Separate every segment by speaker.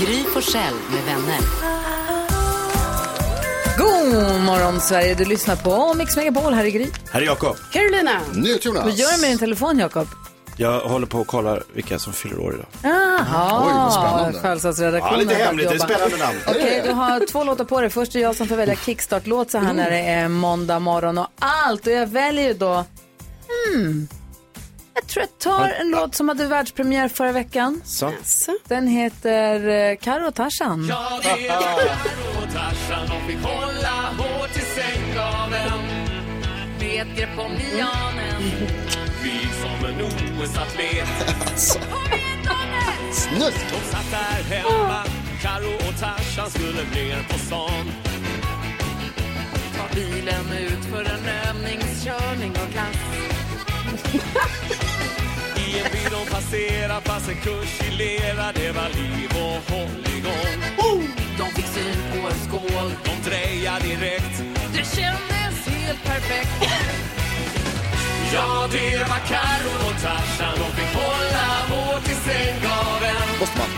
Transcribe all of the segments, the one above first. Speaker 1: Gry Forssell med vänner.
Speaker 2: God morgon Sverige, du lyssnar på Mix Megapol. Här är Gry.
Speaker 3: Här är Jakob.
Speaker 2: Carolina.
Speaker 3: Jonas.
Speaker 2: Vad gör du med din telefon Jakob?
Speaker 3: Jag håller på och kollar vilka som fyller år idag.
Speaker 2: Ah. Jaha,
Speaker 3: Oj, vad spännande.
Speaker 2: födelsedagsredaktionen.
Speaker 3: Ja, lite
Speaker 2: har
Speaker 3: hemligt. Det är
Speaker 2: jobbat.
Speaker 3: spännande namn.
Speaker 2: Okej, du har två låtar på dig. Först är jag som får välja kickstart-låt så här när det är måndag morgon och allt. Och jag väljer ju då... Hmm. Jag tror jag tar en låt som hade världspremiär förra veckan.
Speaker 3: Så.
Speaker 2: Den heter eh, Karo och Tarzan.
Speaker 4: Ja, det var Karo och Tarzan och fick hålla hårt i sänggaveln Det är ett grepp om lianen Vig som en OS-atlet Snyggt! De satt där hemma Karo och Tarzan skulle ner på stan
Speaker 5: Ta bilen ut för en övningskörning och glass.
Speaker 4: I en by de passerar pass en kurs i lera Det var liv och hålligång De fick syn på en skål De drejar direkt
Speaker 5: Det kändes helt perfekt.
Speaker 4: Ja, det var Karo och Tarzan De fick hålla hårt i sänggaveln
Speaker 5: Måste man.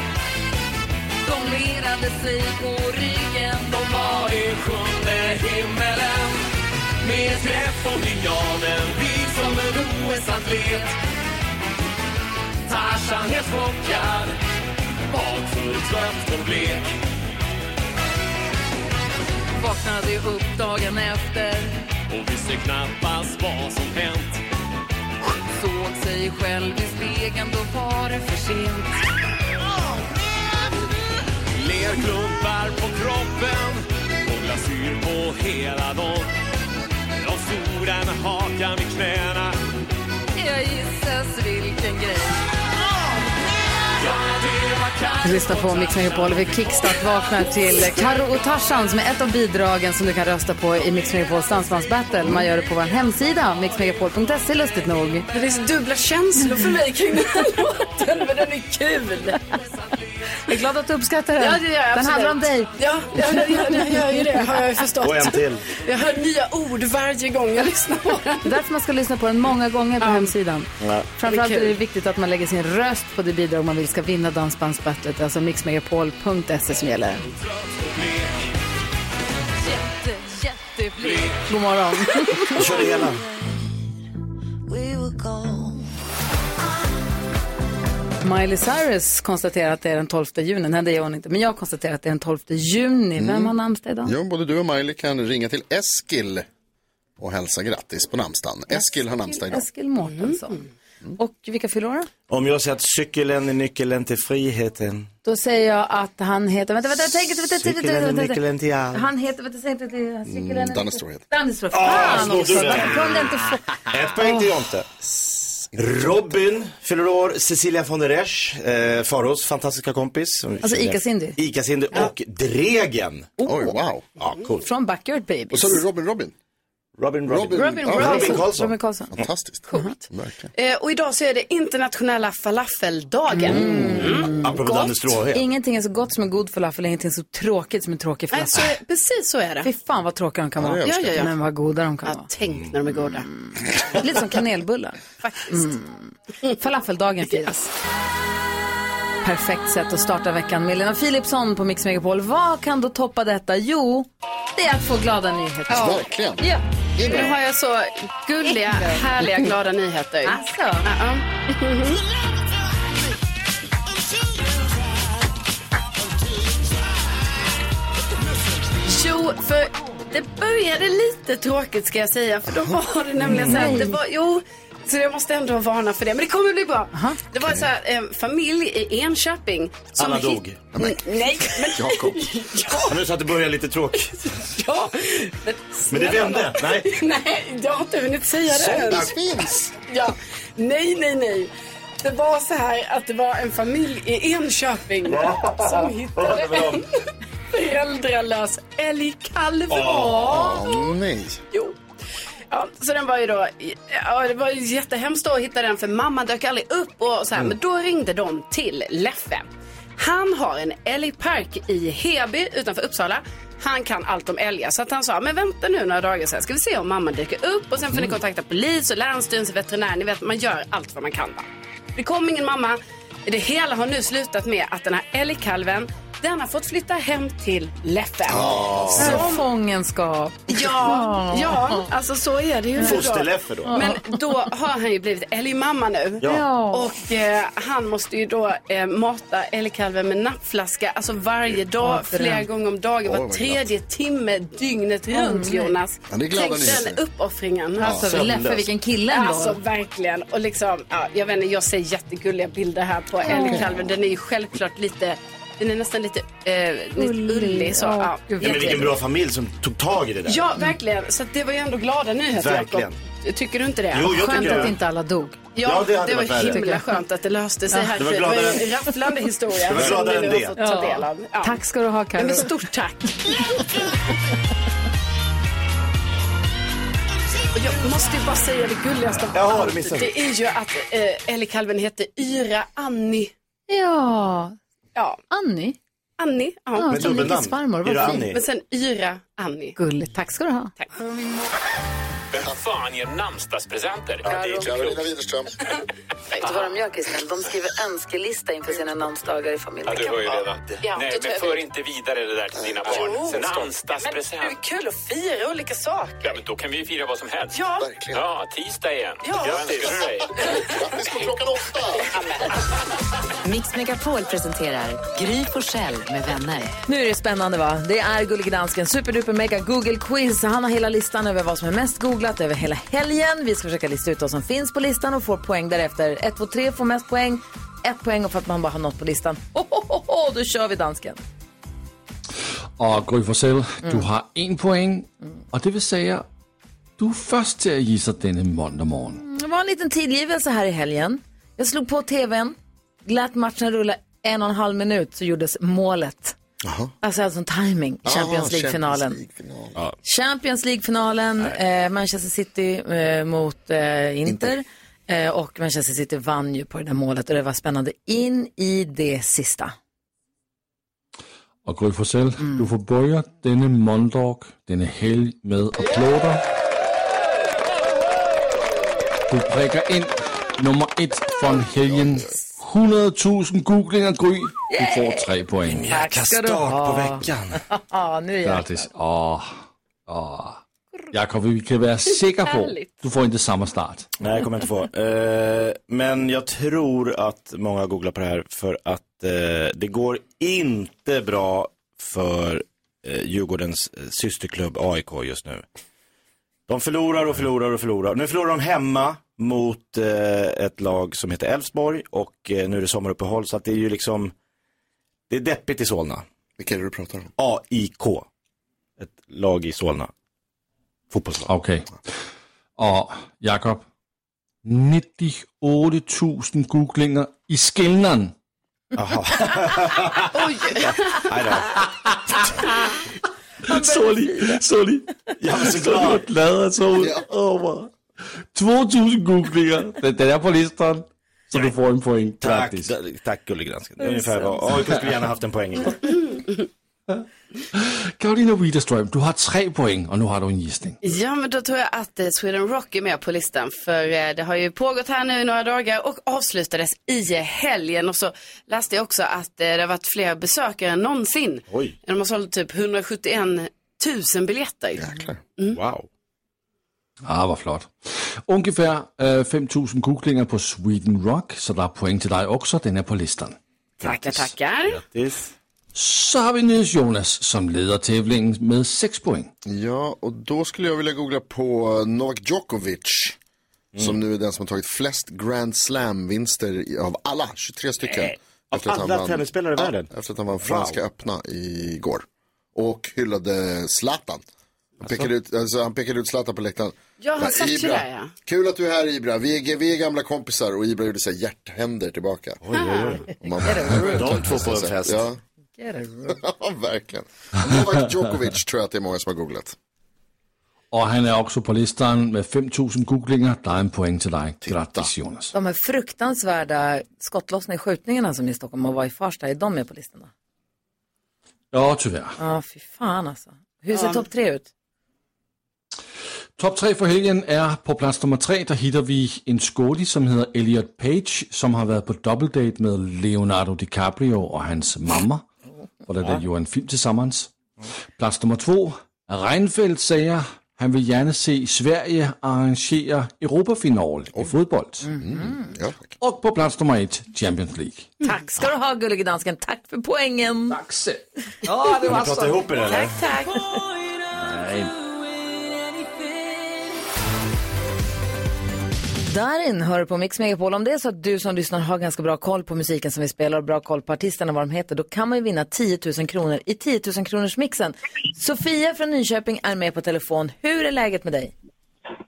Speaker 5: De lerade sig på ryggen.
Speaker 4: De var i sjunde himmelen Med ett grepp om linjalen Vig som en OS-atlet Tarzan helt chockad Bakfull, trött och blek
Speaker 5: Vaknade upp dagen efter.
Speaker 4: Och visste knappast vad som hänt
Speaker 5: Såg sig själv i spegeln. Då var det för sent.
Speaker 4: Lerklumpar på kroppen Och glasyr på hela dem De stod där med hakan vid knäna
Speaker 5: Jag gissas vilken grej.
Speaker 4: Ja, det var Karo
Speaker 2: Du lyssnar på Mix Megapol och vi kickstart-vaknar till Karo och Tarzan som är ett av bidragen som du kan rösta på i Mix Megapols dansbandsbattle. Man gör det på vår hemsida, mixmegapol.se, lustigt nog.
Speaker 6: Det är så dubbla känslor för mig kring den här låten, men den är kul.
Speaker 2: Jag är glad att du uppskattar den.
Speaker 6: Ja, det gör jag
Speaker 2: Den
Speaker 6: absolut.
Speaker 2: handlar om dig.
Speaker 6: Ja, ja, ja, ja, ja, jag gör ju det, har jag ju förstått.
Speaker 2: Och en till.
Speaker 6: Jag hör nya ord varje gång jag lyssnar på den.
Speaker 2: Därför man ska lyssna på den många gånger på hemsidan.
Speaker 6: Ja.
Speaker 2: Framförallt
Speaker 6: Det är
Speaker 2: är
Speaker 6: kul.
Speaker 2: det viktigt att man lägger sin röst på det bidrag man vill ska vinna dansbandsbattlet, alltså mixmegapol.se som gäller.
Speaker 5: Jätte, jätteflik.
Speaker 2: God morgon.
Speaker 5: Jag körde hela.
Speaker 2: Miley Cyrus konstaterar att det är den 12 juni. Nej, det gör hon inte. Men jag konstaterar att det är den 12 juni. Vem
Speaker 7: Mm.
Speaker 2: har namnsdag idag?
Speaker 7: Ja, både du och Miley kan ringa till Eskil och hälsa grattis på namnsdagen. Eskil har namnsdag idag. Mm.
Speaker 2: Eskil Mårtensson. Och vilka fyller år då?
Speaker 3: Om jag säger att cykeln är nyckeln till friheten.
Speaker 2: Då säger jag att han heter... Vänta, vänta, tänk, vänta, vänta, vänta,
Speaker 3: Cykeln är
Speaker 2: vänta,
Speaker 3: nyckeln till
Speaker 2: vänta.
Speaker 3: allt.
Speaker 2: Han heter... Vänta, säg inte det. Cykeln är-
Speaker 3: Mm, Danne Storhed.
Speaker 2: Danne Storhed.
Speaker 3: Ah,
Speaker 2: Fan
Speaker 3: snor
Speaker 2: också.
Speaker 3: du den?
Speaker 2: Varför kunde jag inte få...
Speaker 3: Ett poäng till Jonte. Robin fyller år, Cecilia von der Esch, eh, Faros fantastiska kompis.
Speaker 2: Alltså Ica Cindy.
Speaker 3: Ica Cindy och Dregen.
Speaker 7: Oj,
Speaker 2: Oh.
Speaker 7: wow.
Speaker 3: Ja, coolt.
Speaker 2: Från Backyard Babies.
Speaker 7: Och så har du Robin Robin.
Speaker 3: Robin
Speaker 7: Robin,
Speaker 2: Robin
Speaker 7: ja,
Speaker 2: Robinson.
Speaker 7: Robin Karlsson.
Speaker 2: Robin Karlsson.
Speaker 7: Fantastiskt. Coolt. Verkligen.
Speaker 6: Eh, och idag så är det internationella falafeldagen.
Speaker 7: Apropå Danne Stråhed.
Speaker 2: Ingenting är så gott som en god falafel, ingenting så tråkigt som en tråkig
Speaker 6: Nej, så,
Speaker 2: falafel.
Speaker 6: precis så är det.
Speaker 2: Fy fan vad tråkiga de kan
Speaker 6: Ja,
Speaker 2: vara.
Speaker 6: det älskar jag.
Speaker 2: Men vad goda de kan vara.
Speaker 6: Tänk när de är goda.
Speaker 2: Lite som kanelbullar. Faktiskt. Mm. Falafeldagen firas. Perfekt sätt att starta veckan med Lena Philipsson på Mix Megapol. Vad kan då toppa detta? Jo, det är att få glada nyheter.
Speaker 6: Ja. Verkligen.
Speaker 2: Ja.
Speaker 6: Nu har jag så gulliga, härliga, glada nyheter.
Speaker 2: Alltså.
Speaker 6: Ja, ja. Jo, för det började lite tråkigt ska jag säga. För då var det nämligen så här, att det var, jo, så jag måste ändå varna för det. Men det kommer bli bra. Det var så här, en familj i Enköping.
Speaker 3: Alla
Speaker 6: hitt-
Speaker 3: dog.
Speaker 6: Nej, nej, men...
Speaker 3: Jakob. Ja. Nu så att det börjar lite tråkigt.
Speaker 6: Ja,
Speaker 3: Men det vände. Nej.
Speaker 6: Nej, jag har inte hunnit säga det
Speaker 3: Sånt
Speaker 6: än.
Speaker 3: där finns.
Speaker 6: Ja. Nej, nej, nej. Det var så här att det var en familj i Enköping som hittade en föräldralös älgkalv.
Speaker 7: Åh, nej.
Speaker 6: Jo. Ja, så den var ju då, ja, det var ju jättehemskt då att hitta den för mamma dök aldrig upp och så här,
Speaker 7: Mm.
Speaker 6: men då ringde de till Leffe. Han har en älgpark i Heby utanför Uppsala. Han kan allt om älgar så att han sa, men vänta nu några dagar så här, ska vi se om mamma dyker upp och sen får ni
Speaker 8: Mm.
Speaker 6: kontakta polis och länsstyrelse, veterinär, ni vet man gör allt vad man kan va. Det kom ingen mamma. Det hela har nu slutat med att den här älgkalven, den har fått flytta hem till Leffe.
Speaker 2: Som
Speaker 6: Som
Speaker 2: Alltså. fångenskap.
Speaker 6: Ja, ja, alltså så är det ju.
Speaker 3: Fosterleffe då.
Speaker 6: Men då har han ju blivit älgmamma nu.
Speaker 3: Ja. Ja.
Speaker 6: Och eh, han måste ju då eh, mata älgkalven med nappflaska. Alltså varje dag,
Speaker 7: Ja, för
Speaker 6: flera
Speaker 7: den.
Speaker 6: gånger om dagen,
Speaker 7: Oj,
Speaker 6: var
Speaker 7: vad
Speaker 6: tredje timme, dygnet
Speaker 2: Mm.
Speaker 6: runt Jonas.
Speaker 7: Ja, det är glada
Speaker 6: Tänk den
Speaker 7: nyheter.
Speaker 6: uppoffringen.
Speaker 2: Ja, Alltså, sömnlös. Leffe, vilken kille ändå.
Speaker 6: Alltså verkligen. Och liksom, ja, jag vet inte, jag ser jättegulliga bilder här på älgkalven. Den är ju självklart lite, den är nästan lite, eh, lite
Speaker 2: Ullig.
Speaker 6: ullig. Så,
Speaker 2: Ja,
Speaker 6: ja,
Speaker 3: Nej, men vilken
Speaker 6: jättegullig.
Speaker 3: bra familj som tog tag i det där.
Speaker 6: Ja, verkligen. Så att det var ju ändå glada nyheter,
Speaker 3: Verkligen.
Speaker 6: Jakob. Tycker du inte det?
Speaker 3: Jo, jag
Speaker 2: Skönt
Speaker 3: tycker
Speaker 2: att
Speaker 3: det.
Speaker 2: inte alla dog.
Speaker 6: Ja,
Speaker 3: Ja, det
Speaker 6: det,
Speaker 3: hade
Speaker 6: var
Speaker 3: varit värre.
Speaker 6: himla skönt att det löste sig
Speaker 3: Ja.
Speaker 6: här.
Speaker 3: Det var
Speaker 6: Det var
Speaker 3: gladare-
Speaker 6: en rafflande historia.
Speaker 3: Det var
Speaker 6: som
Speaker 3: gladare
Speaker 6: vi
Speaker 3: än
Speaker 6: nu
Speaker 3: det.
Speaker 6: har fått ta del av. Ja.
Speaker 2: Tack ska du ha,
Speaker 6: Ja,
Speaker 2: Carro.
Speaker 6: men stort tack. Och Jag måste ju bara säga det gulligaste av
Speaker 2: Jaha,
Speaker 6: allt.
Speaker 2: du missade.
Speaker 6: Det är ju att eh, älgkalven heter Yra Annie.
Speaker 2: Ja.
Speaker 6: Ja.
Speaker 2: Annie?
Speaker 6: Annie, ja.
Speaker 2: Ja, Med som dubbelnamn. Nickes farmor, vad Yra fint. Annie.
Speaker 6: Men sen Yra Annie.
Speaker 2: Gulligt. Tack ska du ha.
Speaker 6: Tack.
Speaker 4: Vem fan ger namnsdagspresenter?
Speaker 7: Ja, det är Karolina Widerström.
Speaker 8: Vet du vad de gör, Christian? De skriver önskelista inför sina namnsdagar i familjen.
Speaker 4: Ja, du hör ju redan.
Speaker 8: Ja,
Speaker 4: Nej,
Speaker 8: då tar
Speaker 4: men
Speaker 8: jag
Speaker 4: för
Speaker 8: vid.
Speaker 4: inte vidare det där till dina
Speaker 8: Jo.
Speaker 4: barn. Sen
Speaker 8: Stopp.
Speaker 4: ansdagspresent.
Speaker 8: Men
Speaker 6: kul att fira olika saker.
Speaker 4: Ja, men då kan vi ju fira vad som helst.
Speaker 8: Ja.
Speaker 4: Verkligen. Ja, tisdag igen.
Speaker 8: Ja.
Speaker 4: Grattis.
Speaker 7: Grattis på klockan åtta!
Speaker 1: Mix Megapol presenterar Gry Forssell med vänner.
Speaker 2: Nu är det spännande va? Det är Gullig Dansken, superduper mega Google quiz. Han har hela listan över vad som är mest googlat över hela helgen. Vi ska försöka lista ut vad som finns på listan och får poäng därefter. 1, 2, 3 får mest poäng. Ett poäng och för att man bara har något på listan. Ho, ho, ho, ho, då kör vi dansken.
Speaker 9: Og Gry Forssell,
Speaker 2: Mm.
Speaker 9: du har en point, og det vil sige, du er først til at give sig denne måndag morgen.
Speaker 2: Det var en liten tidgivelse här i helgen. Jag slog på tvn, lät matchen rulla en och en halv minut så gjordes målet. Alltså alltså en timing i Champions League-finalen.
Speaker 7: Ja.
Speaker 2: Champions League-finalen, eh, Manchester City eh, mot eh, Inter. Eh, och Manchester City vann ju på det där målet och det var spännande in i det sista.
Speaker 9: Og Gry Forssell, du forbøjer denne måndag, denne helg med applauder. Du prikker ind nummer et for en helgen. 100.000 googlinger, Gry. Du får tre point.
Speaker 2: Tack ska du ha. Ja, nu är jag.
Speaker 9: Gratis. Åh, åh. Jakob, vi kan være sikre på,
Speaker 2: Härligt.
Speaker 9: du får inte samma start.
Speaker 3: Nej, jag kommer inte få. Eh, men jag tror att många googlar på det här för att eh, det går inte bra för eh, Djurgårdens eh, systerklubb AIK just nu. De förlorar och förlorar och förlorar. Nu förlorar de hemma mot eh, ett lag som heter Elfsborg och eh, nu är det sommaruppehåll så att det är ju liksom, det är deppigt i Solna.
Speaker 7: Vilka är det du pratar om?
Speaker 3: AIK, ett lag i Solna. Fodboldslag.
Speaker 9: Okay. Og Jakob, 98.000 googlinger i skillnaden.
Speaker 3: Nej då.
Speaker 9: Sorry, sorry.
Speaker 3: Jeg var så
Speaker 9: glad. Så glad og så ud. Åh, hvor- 2.000 googlinger. Den, den er på listan. Så du får en point.
Speaker 3: Tack,
Speaker 9: Grattis.
Speaker 3: tack Mm. gullig dansken.
Speaker 9: Det är
Speaker 3: Ungefär
Speaker 9: sant.
Speaker 3: vad, AIK skulle gärna haft en poäng i.
Speaker 9: Karolina Widerström, du har tre poäng och nu har du en gissning.
Speaker 6: Ja, men då tror jag att eh, Sweden Rock är med på listan. För eh, det har ju pågått här nu i några dagar och avslutades i helgen. Och så läste jag också att eh, det har varit fler besökare än någonsin.
Speaker 3: Oj.
Speaker 6: De har sålt typ 171 000 biljetter.
Speaker 3: Wow.
Speaker 9: Ah, hvor flot. Ungefär øh, 5.000 googlinger på Sweden Rock, så der er point till dig också. Den är på listan.
Speaker 6: Tackar, tackar.
Speaker 3: Grattis.
Speaker 9: Så har vi Niels Jonas, som leder tävlingen med 6 poäng.
Speaker 7: Ja, och då skulle jag vilja googla på Novak Djokovic.
Speaker 3: Mm.
Speaker 7: Som nu är den som har tagit flest Grand Slam-vinster i- av alla, 23 stycken.
Speaker 3: Nej, av alla tennisspelare i världen?
Speaker 7: Ja, efter att han vann Franska
Speaker 3: Wow.
Speaker 7: öppna igår. Och hyllade Zlatan. Han pekade, ut, alltså, han pekade ut Zlatan på läktaren.
Speaker 6: Ja, han
Speaker 7: Bara,
Speaker 6: satt ju
Speaker 7: "Ibra,
Speaker 6: där, ja."
Speaker 7: Kul att du är här Ibra. Vi är, vi är gamla kompisar och Ibra gjorde så här hjärthänder tillbaka.
Speaker 3: Oj, oj, oj.
Speaker 7: Och man bara,
Speaker 3: De två på en fest.
Speaker 7: Ja.
Speaker 2: Get a room.
Speaker 7: ja, verkligen. Novak Djokovic tror jag att det är många som har googlat.
Speaker 9: Og han er også på listeren med 5.000 googlinger. Der er en point til dig. Grattis, Jonas.
Speaker 2: De här fruktansvärda skottlossningarna, skjutningarna som är i Stockholm och var i Farsta, är de med på listan? då?
Speaker 9: Ja, tyvärr.
Speaker 2: Ja, fy fan alltså. Hur ser
Speaker 6: Ja.
Speaker 2: topp tre ut?
Speaker 9: Top 3 for helgen er på plads nummer 3, der hitter vi en skådi, som hedder Elliot Page, som har været på dobbeltdate med Leonardo DiCaprio og hans mamma, hvor der ja. jo er en film til sammens. Plads nummer 2, Reinfeldt siger, han vil gerne se Sverige arrangere Europafinal i fodbold. Og på plads nummer 1, Champions League.
Speaker 2: Tack ska du ha gullige dansken, tack för poängen.
Speaker 9: Tack så.
Speaker 2: Ja,
Speaker 9: det Kan var ni prata så. ihop er, eller?
Speaker 2: Tack, tack.
Speaker 9: Nej.
Speaker 2: Darin hör på Mix Megapol. Om det är så att du som lyssnar har ganska bra koll på musiken som vi spelar och bra koll på artisterna och vad de heter, då kan man ju vinna 10 000 kronor i 10 000 kronors mixen. Sofia från Nyköping är med på telefon. Hur är läget med dig?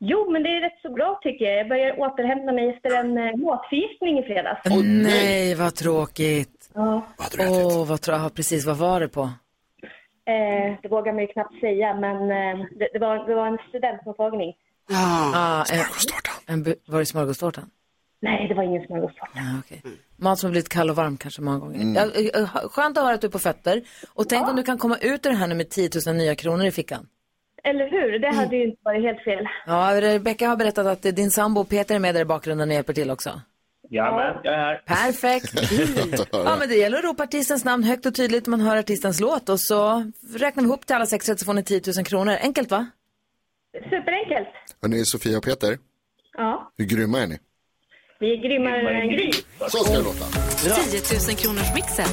Speaker 10: Jo, men det är rätt så bra tycker jag. Jag börjar återhämta mig efter en eh, matförgiftning i fredags.
Speaker 2: nej, vad tråkigt.
Speaker 10: Ja.
Speaker 2: Åh, vad tror jag precis, vad var det på?
Speaker 10: Eh, det vågar man ju knappt säga, men eh, det, det, var, det var en studentmottagning.
Speaker 2: Ah, en, en, bu- var det smörgåstårtan?
Speaker 10: Nej, det var ingen smörgåstårta.
Speaker 2: Ah, okej. Mat som har blivit kall och varm kanske många gånger. Ja, eh, eh, skönt att höra att du är på fötter. Och tänk om du kan komma ut ur det här nu med 10 000 nya kronor i fickan.
Speaker 10: Eller hur? Det hade ju inte varit helt fel.
Speaker 2: Ja, eh, Rebecka har berättat att eh, din sambo Peter är med där i bakgrunden och hjälper till också.
Speaker 11: Jajamän, jag är här.
Speaker 2: Perfekt. Ja, men det gäller att ropa artistens namn högt och tydligt. Man hör artistens låt och så räknar vi ihop till alla sex rätt så får ni 10 000 kronor. Enkelt va?
Speaker 10: Superenkelt.
Speaker 7: Hörni, Sofia och Peter,
Speaker 10: Ja,
Speaker 7: hur grymma är ni?
Speaker 10: vi är grymmare än en gris.
Speaker 7: Så ska det låta.
Speaker 1: 10 000 kronors mixen.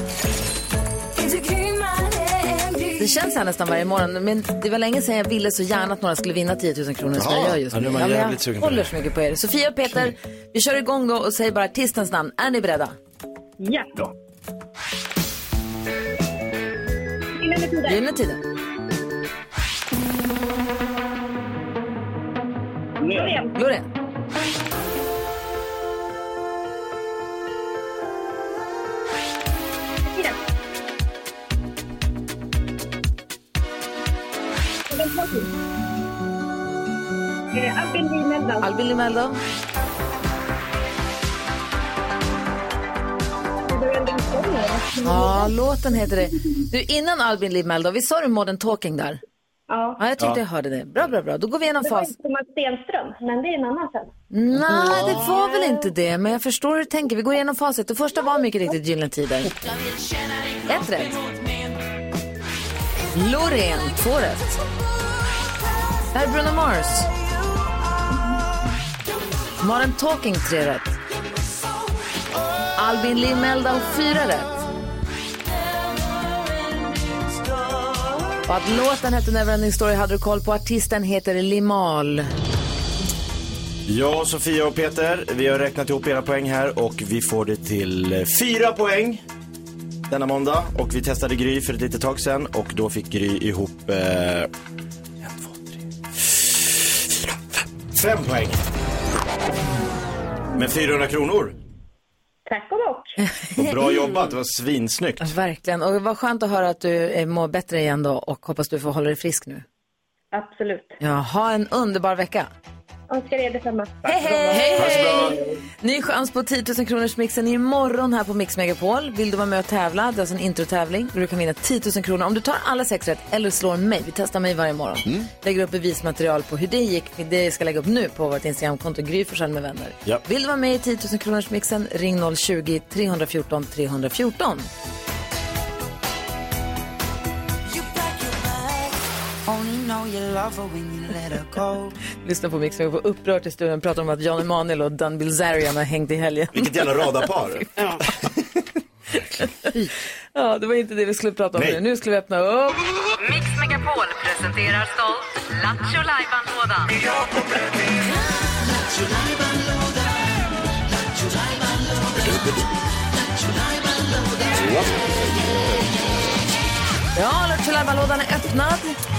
Speaker 2: Det känns så här nästan varje morgon, men det var länge sedan jag ville så gärna att några skulle vinna 10 000 kronor som
Speaker 1: Ja.
Speaker 2: jag gör just
Speaker 1: Ja, nu är man
Speaker 2: men
Speaker 1: jävligt
Speaker 2: jag
Speaker 1: sugen på
Speaker 2: håller
Speaker 1: det.
Speaker 2: så mycket på er. Sofia och Peter, vi kör igång då och säger bara artistens namn. Är ni beredda?
Speaker 10: Ja.
Speaker 2: Gyllene Tider.
Speaker 10: Loreen.
Speaker 2: Loreen.
Speaker 10: Albin alltså. Limelda.
Speaker 2: Albin Limelda. Ja, låten heter det. Du, innan Albin Limelda, vi sa du Modern Talking där?
Speaker 10: Ja.
Speaker 2: Ja, jag tyckte
Speaker 10: Ja.
Speaker 2: jag hörde det. Bra, bra, bra. Då går vi igenom
Speaker 10: Det var
Speaker 2: fas.
Speaker 10: inte Thomas Stenström, men det är en annan sen.
Speaker 2: Nej, det var väl inte det, men jag förstår hur du tänker. Vi går igenom facit. Det första var mycket riktigt Gyllene Tider. Ett rätt. Loreen, två rätt. Det här är Bruno Mars. Modern Talking, tre rätt. Albin Limeldal, fyra rätt. Och att låten hette Neverending Story hade du koll på. Artisten heter Limal.
Speaker 3: Ja, Sofia och Peter, vi har räknat ihop era poäng här och vi får det till eh, fyra poäng denna måndag. Och vi testade Gry för ett litet tag sedan och då fick Gry ihop eh, en, två, tre, fyra, fem, fem poäng. Med 400 kronor.
Speaker 10: Tack och bock.
Speaker 3: Och bra jobbat, det var svinsnyggt.
Speaker 2: Alltså, Verkligen. Och vad skönt att höra att du eh, mår bättre igen då och hoppas du får hålla dig frisk nu.
Speaker 10: Absolut.
Speaker 2: Ja, ha en underbar vecka.
Speaker 10: Önskar er detsamma.
Speaker 2: Hej, hej! hej! Ny chans på 10 000 kronors mixen imorgon här på Mix Megapol. Vill du vara med och tävla? Det är alltså en introtävling där du kan vinna 10 000 kronor om du tar alla sex rätt eller slår mig. Vi testar mig varje morgon. Lägger upp bevismaterial på hur det gick. Det ska jag lägga upp nu på vårt Instagramkonto Gry Forssell med vänner.
Speaker 1: Ja.
Speaker 2: Vill du vara med i 10 000 kronors mixen? Ring 020-314 314. 314. Lyssna på Mix på upprört i studion pratar om att Jan Emanuel och Dan Bilzerian har hängt i helgen.
Speaker 3: Vilket jävla radarpar.
Speaker 2: ja, det var inte det vi skulle prata om
Speaker 3: Nej.
Speaker 2: nu. Nu skulle vi öppna upp.
Speaker 1: Mix Megapol presenterar stolt Lattjo Lajban-lådan.
Speaker 2: Ja, Lattjo Lajban-lådan är öppnad.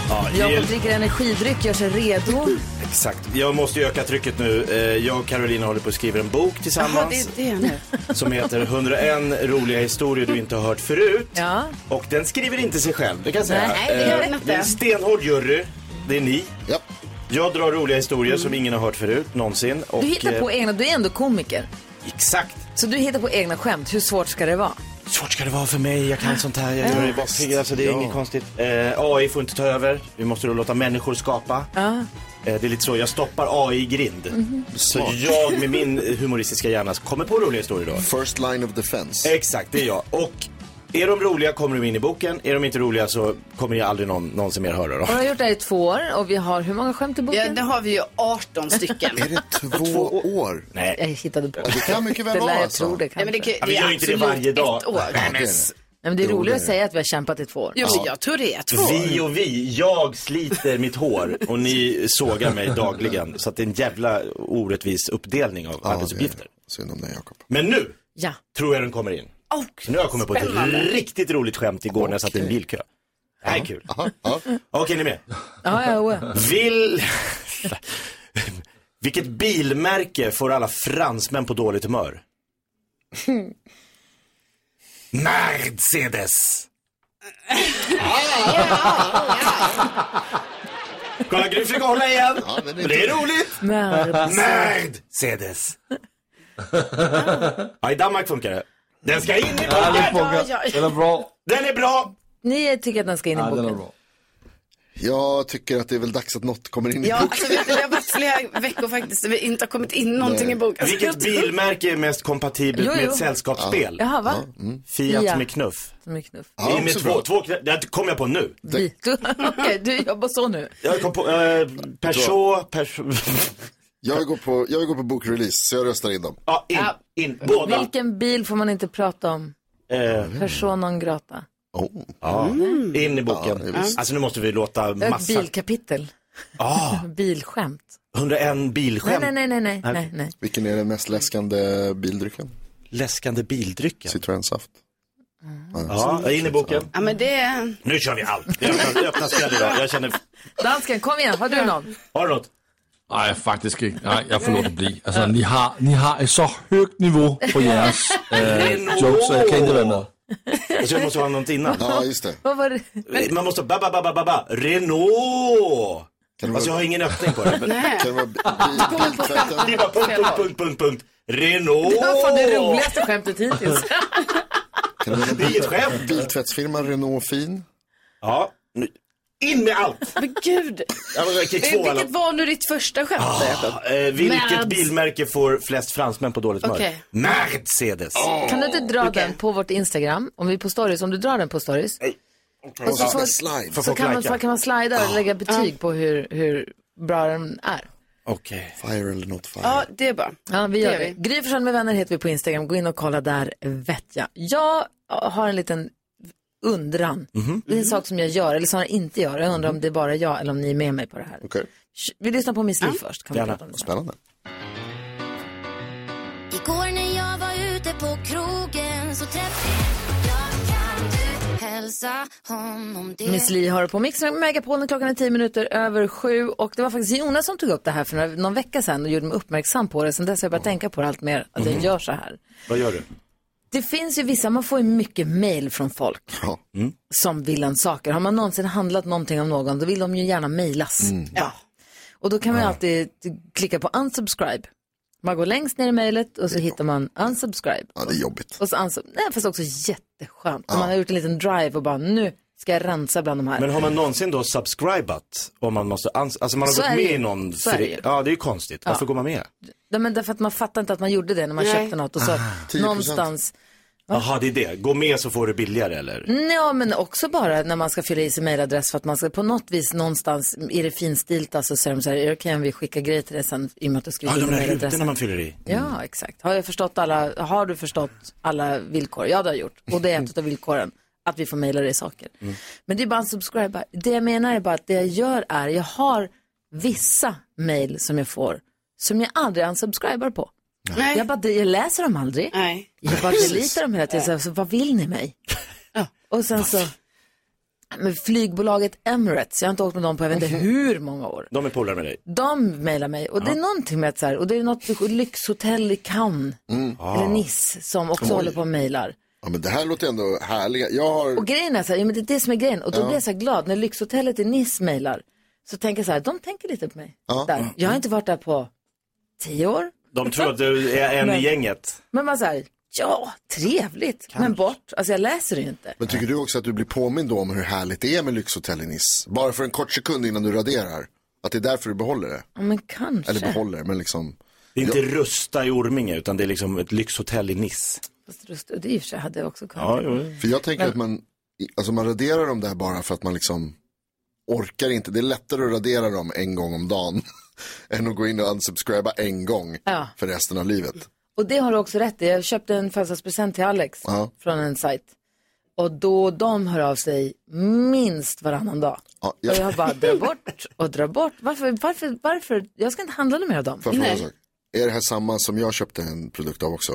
Speaker 3: Ja,
Speaker 2: Jakob
Speaker 3: hjälp.
Speaker 2: dricker energidryck, gör sig redo.
Speaker 3: Exakt. Jag måste ju öka trycket nu. Eh, Jag och Carolina håller på att skriva en bok
Speaker 6: Jaha,
Speaker 3: tillsammans
Speaker 6: det är det nu.
Speaker 3: som heter 101 roliga historier du inte har hört förut.
Speaker 2: Ja.
Speaker 3: Och den skriver inte sig själv, det kan jag säga.
Speaker 6: Nej, det gör den
Speaker 3: Eh,
Speaker 6: inte.
Speaker 3: det är en stenhård jury, det är ni. Jag drar roliga historier som ingen har hört förut, någonsin. Och,
Speaker 2: Du hittar på
Speaker 3: eh,
Speaker 2: egna, du är ändå komiker.
Speaker 3: Exakt.
Speaker 2: Så du hittar på egna skämt, hur svårt ska det vara?
Speaker 3: Svårt ska det vara för mig, jag kan sånt här, jag gör det bara pigg, alltså det är
Speaker 2: Ja.
Speaker 3: inget konstigt. Eh, AI får inte ta över, vi måste då låta människor skapa.
Speaker 2: Ja.
Speaker 3: Eh, Det är lite så, jag stoppar AI i grind.
Speaker 2: Mhm.
Speaker 3: Så
Speaker 7: Smart.
Speaker 3: jag med min humoristiska hjärna kommer på roliga historier då.
Speaker 7: First line of defense.
Speaker 3: Exakt, det är jag. Och är de roliga kommer de in i boken, är de inte roliga så kommer jag aldrig någon, någonsin mer höra dem.
Speaker 2: Och du har gjort det här i två år och vi har hur många skämt i boken? Ja, det
Speaker 6: har vi ju 18 stycken.
Speaker 7: Är det två år?
Speaker 3: Nej.
Speaker 2: Jag hittade på.
Speaker 7: Det kan mycket väl
Speaker 2: Det lär
Speaker 7: vara
Speaker 2: jag
Speaker 7: alltså.
Speaker 2: tro det kanske.
Speaker 6: men det kan-
Speaker 7: Ja, vi det är gör inte det absolut varje dag. ett år. Nej, men-
Speaker 2: Nej, men det är roligare att säga att vi har kämpat i två år.
Speaker 6: Jo, men jag tror det är två år.
Speaker 3: Vi och vi, jag sliter mitt hår och ni sågar mig dagligen. Så att det är en jävla orättvis uppdelning av arbetsuppgifter.
Speaker 7: Synd om dig Jakob.
Speaker 3: Men nu
Speaker 2: Ja.
Speaker 3: tror jag den kommer in. nu har jag kommit på
Speaker 7: spännande.
Speaker 3: ett riktigt roligt skämt igår när jag satt i en bilkö. Det här är kul. Okej, ni är med?
Speaker 2: Ja, ja, ja.
Speaker 3: Vill... Vilket bilmärke får alla fransmän på dåligt humör? Mercedes. Kolla, Gry försöker hålla igen. men det, är roligt. Mercedes. ja, i Danmark funkar det. Den ska in i
Speaker 2: Ja, det
Speaker 3: boken.
Speaker 2: funkar.
Speaker 7: Den är
Speaker 3: bra. Den är bra.
Speaker 2: Ni tycker att den ska in i boken?
Speaker 7: Jag tycker att det är väl dags att något kommer in i
Speaker 6: Ja,
Speaker 7: boken.
Speaker 6: alltså, vet du, det har varit flera veckor faktiskt där vi inte har kommit in någonting i boken.
Speaker 3: Vilket bilmärke är mest kompatibelt
Speaker 6: Alltså, Jo,
Speaker 3: med
Speaker 6: jo.
Speaker 3: ett sällskapsspel?
Speaker 6: Ja. Jaha, va?
Speaker 3: Ja, mm. Fiat
Speaker 2: Fiat.
Speaker 3: med knuff.
Speaker 2: Som är knuff.
Speaker 3: det är med två, två, knä- det kom jag på nu.
Speaker 2: Vi- Du- Okej, du jobbar så nu.
Speaker 3: Jag kom på, eh, Peugeot, Peugeot.
Speaker 7: jag, går på, jag går på bokrelease, så jag röstar in dem.
Speaker 3: Ja, in, in, båda. Eh,
Speaker 2: Vilken bil får man inte prata om? Person non grata.
Speaker 3: Ja, in i boken. alltså nu måste vi låta
Speaker 2: Det är ett
Speaker 3: massa...
Speaker 2: bilkapitel.
Speaker 3: Ah,
Speaker 2: Bilskämt.
Speaker 3: 101
Speaker 2: Nej,
Speaker 3: bilskämt.
Speaker 2: nej, nej, nej, nej, nej, nej.
Speaker 7: Vilken är den mest läskande bildrycken?
Speaker 3: Läskande bildrycken?
Speaker 7: Citronsaft.
Speaker 2: Mm.
Speaker 3: Ja, in i boken.
Speaker 6: Ja, men det...
Speaker 3: Nu kör vi allt. Jag öppnar- jag öppnar spjäll idag. Jag känner,
Speaker 2: Dansken, kom igen, har du någon?
Speaker 3: har du något?
Speaker 9: Nej, faktisk ikke. Nej, jeg får lov at blive. Altså, ni har, ni har et så højt niveau på jeres øh, jokes, så jeg kan ikke være med.
Speaker 3: Jag tror jag måste ha något innan.
Speaker 7: Ja, just det.
Speaker 2: Vad var det?
Speaker 3: Man måste ba, ba, ba, ba, ba, ba. Renault! Alltså jag har ingen öppning på det.
Speaker 2: Nej.
Speaker 7: Kan det
Speaker 3: Det är bara punkt, punkt, punkt, punkt, punkt. Renault!
Speaker 2: Det var fan det roligaste skämtet hittills.
Speaker 7: Kan det
Speaker 3: Det är inget skämt.
Speaker 7: Biltvättsfirman Renault Fin.
Speaker 3: Ja, in med allt.
Speaker 6: Men gud.
Speaker 3: Ja, men, okej,
Speaker 2: Eh,
Speaker 3: två, alla.
Speaker 6: Vilket var nu ditt första skämt?
Speaker 3: Ah, eh, vilket
Speaker 6: Mercedes.
Speaker 3: bilmärke får flest fransmän på dåligt humör?
Speaker 2: Okej.
Speaker 3: Mercedes.
Speaker 2: Kan du inte dra den på vårt Instagram? Om vi är på stories, om du drar den på stories. Och så, får,
Speaker 3: Får
Speaker 2: så
Speaker 3: folk
Speaker 2: kan, man,
Speaker 3: lajka?
Speaker 2: så kan man slida och lägga betyg på hur, hur bra den är.
Speaker 3: Okej.
Speaker 7: Fire eller not fire.
Speaker 6: Ja, det är bra.
Speaker 2: Ja, vi
Speaker 6: Det
Speaker 2: gör
Speaker 6: gör
Speaker 2: det. Gry Forssell med vänner heter vi på Instagram. Gå in och kolla där, vet jag. Jag har en liten undran. Det är en sak som jag gör, eller som jag inte gör. Jag undrar om det är bara jag eller om ni är med mig på det här.
Speaker 7: Okej.
Speaker 2: Sh- Vi lyssnar på Miss Li först. Kan vi
Speaker 7: Gärna.
Speaker 2: prata om det.
Speaker 7: Spännande.
Speaker 11: Igår när jag var ute på krogen så träffade jag kan du hälsa honom det
Speaker 2: Miss Li har på Mix Megapolen klockan är 10 minuter över sju och det var faktiskt Jonas som tog upp det här för några- någon vecka sedan och gjorde mig uppmärksam på det. Sen dess har jag börjat tänka på det allt mer, att jag
Speaker 3: Mhm.
Speaker 2: gör så här.
Speaker 3: Vad gör du?
Speaker 2: Det finns ju vissa, man får ju mycket mail från folk
Speaker 3: Mm.
Speaker 2: som vill en saker. Har man någonsin handlat någonting av någon, då vill de ju gärna mailas.
Speaker 3: Mm.
Speaker 2: Ja. Och då kan man ju alltid klicka på unsubscribe. Man går längst ner i mejlet och så hittar man unsubscribe.
Speaker 7: Ja, det är jobbigt.
Speaker 2: Och så unsub... Nej, fast också jätteskönt. När Man har gjort en liten drive och bara, nu ska jag rensa bland de här.
Speaker 3: Men har man någonsin då subscribat? Om man måste, ans- alltså man har
Speaker 2: Så
Speaker 3: gått
Speaker 2: är det
Speaker 3: med
Speaker 2: ju.
Speaker 3: i någon
Speaker 2: Så är det ju.
Speaker 3: Ja, det är ju konstigt. Varför
Speaker 2: Ja.
Speaker 3: går man med?
Speaker 2: Nej, men därför att man fattar inte att man gjorde det när man
Speaker 3: Nej.
Speaker 2: köpte något och så
Speaker 3: Ah. 10%.
Speaker 2: någonstans.
Speaker 3: Jaha, det är det. Gå med så får du billigare eller?
Speaker 2: Ja, men också bara när man ska fylla i sin mejladress för att man ska på något vis någonstans, är det finstilt alltså, så är de så här, är det okej om vi skickar grejer till dig sen i och med att du
Speaker 3: Ja,
Speaker 2: skriver
Speaker 3: de
Speaker 2: in
Speaker 3: där rutorna
Speaker 2: mejladressen?
Speaker 3: man fyller i.
Speaker 2: Ja, exakt. Har jag förstått alla, har du förstått alla villkor? Ja, det har jag gjort. Och det är ett av villkoren, att vi får mejla dig saker.
Speaker 3: Mm.
Speaker 2: Men det är bara en subscribe. Det jag menar är bara att det jag gör är, jag har vissa mejl som jag får som jag aldrig unsubscribar på. Jag, bara, jag läser dem aldrig. Jag bara
Speaker 6: Precis.
Speaker 2: deletar dem hela tiden. Så, här, så, vad vill ni mig? Och sen så, med flygbolaget Emirates. Jag har inte åkt med dem på jag vet
Speaker 7: Mm.
Speaker 2: inte hur många år.
Speaker 3: De är polare med dig.
Speaker 2: De mejlar mig och det är någonting med att så här, och det är något lyxhotell i Cannes,
Speaker 7: Mm. Ah.
Speaker 2: eller Nice, som också
Speaker 7: Oj.
Speaker 2: håller på och mejlar.
Speaker 7: Ja, men det här låter ändå härligt. Jag har...
Speaker 2: Och grejen är så här, ja, men det är det som är grejen. Och då
Speaker 7: Ja.
Speaker 2: blir jag så här glad när lyxhotellet i Nice mejlar. Så tänker jag så här, de tänker lite på mig.
Speaker 7: Ja.
Speaker 2: Där. Jag har inte varit där på tio år.
Speaker 3: De tror att du är en
Speaker 2: Men-
Speaker 3: i gänget.
Speaker 2: Men man säger, ja, trevligt, men bort. Alltså jag läser det ju inte.
Speaker 7: Men tycker du också att du blir påmind då om hur härligt det är med lyxhotell i Nice? Bara för en kort sekund innan du raderar. Att det är därför du behåller det.
Speaker 2: Ja, men kanske.
Speaker 7: Eller behåller, men liksom.
Speaker 3: Det är inte Rusta i Orminge utan det är liksom ett lyxhotell i Nice.
Speaker 2: Fast rust- och det i och för sig hade jag också kunnat.
Speaker 7: För jag tänker
Speaker 2: Men-
Speaker 7: att man, alltså man raderar dem där bara för att man liksom orkar inte. Det är lättare att radera dem en gång om dagen än att gå in och unsubscriba en gång
Speaker 2: Ja.
Speaker 7: för resten av livet.
Speaker 2: Och det har du också rätt i. Jag köpte en födelsedagspresent till Alex
Speaker 7: Ja.
Speaker 2: från en sajt. Och då de hör av sig minst varannan dag.
Speaker 7: Ja, jag-
Speaker 2: Och jag bara drar bort och drar bort. Varför, varför, varför? Jag ska inte handla med mer av dem.
Speaker 7: Får jag fråga en sak? Är det här samma som jag köpte en produkt av också?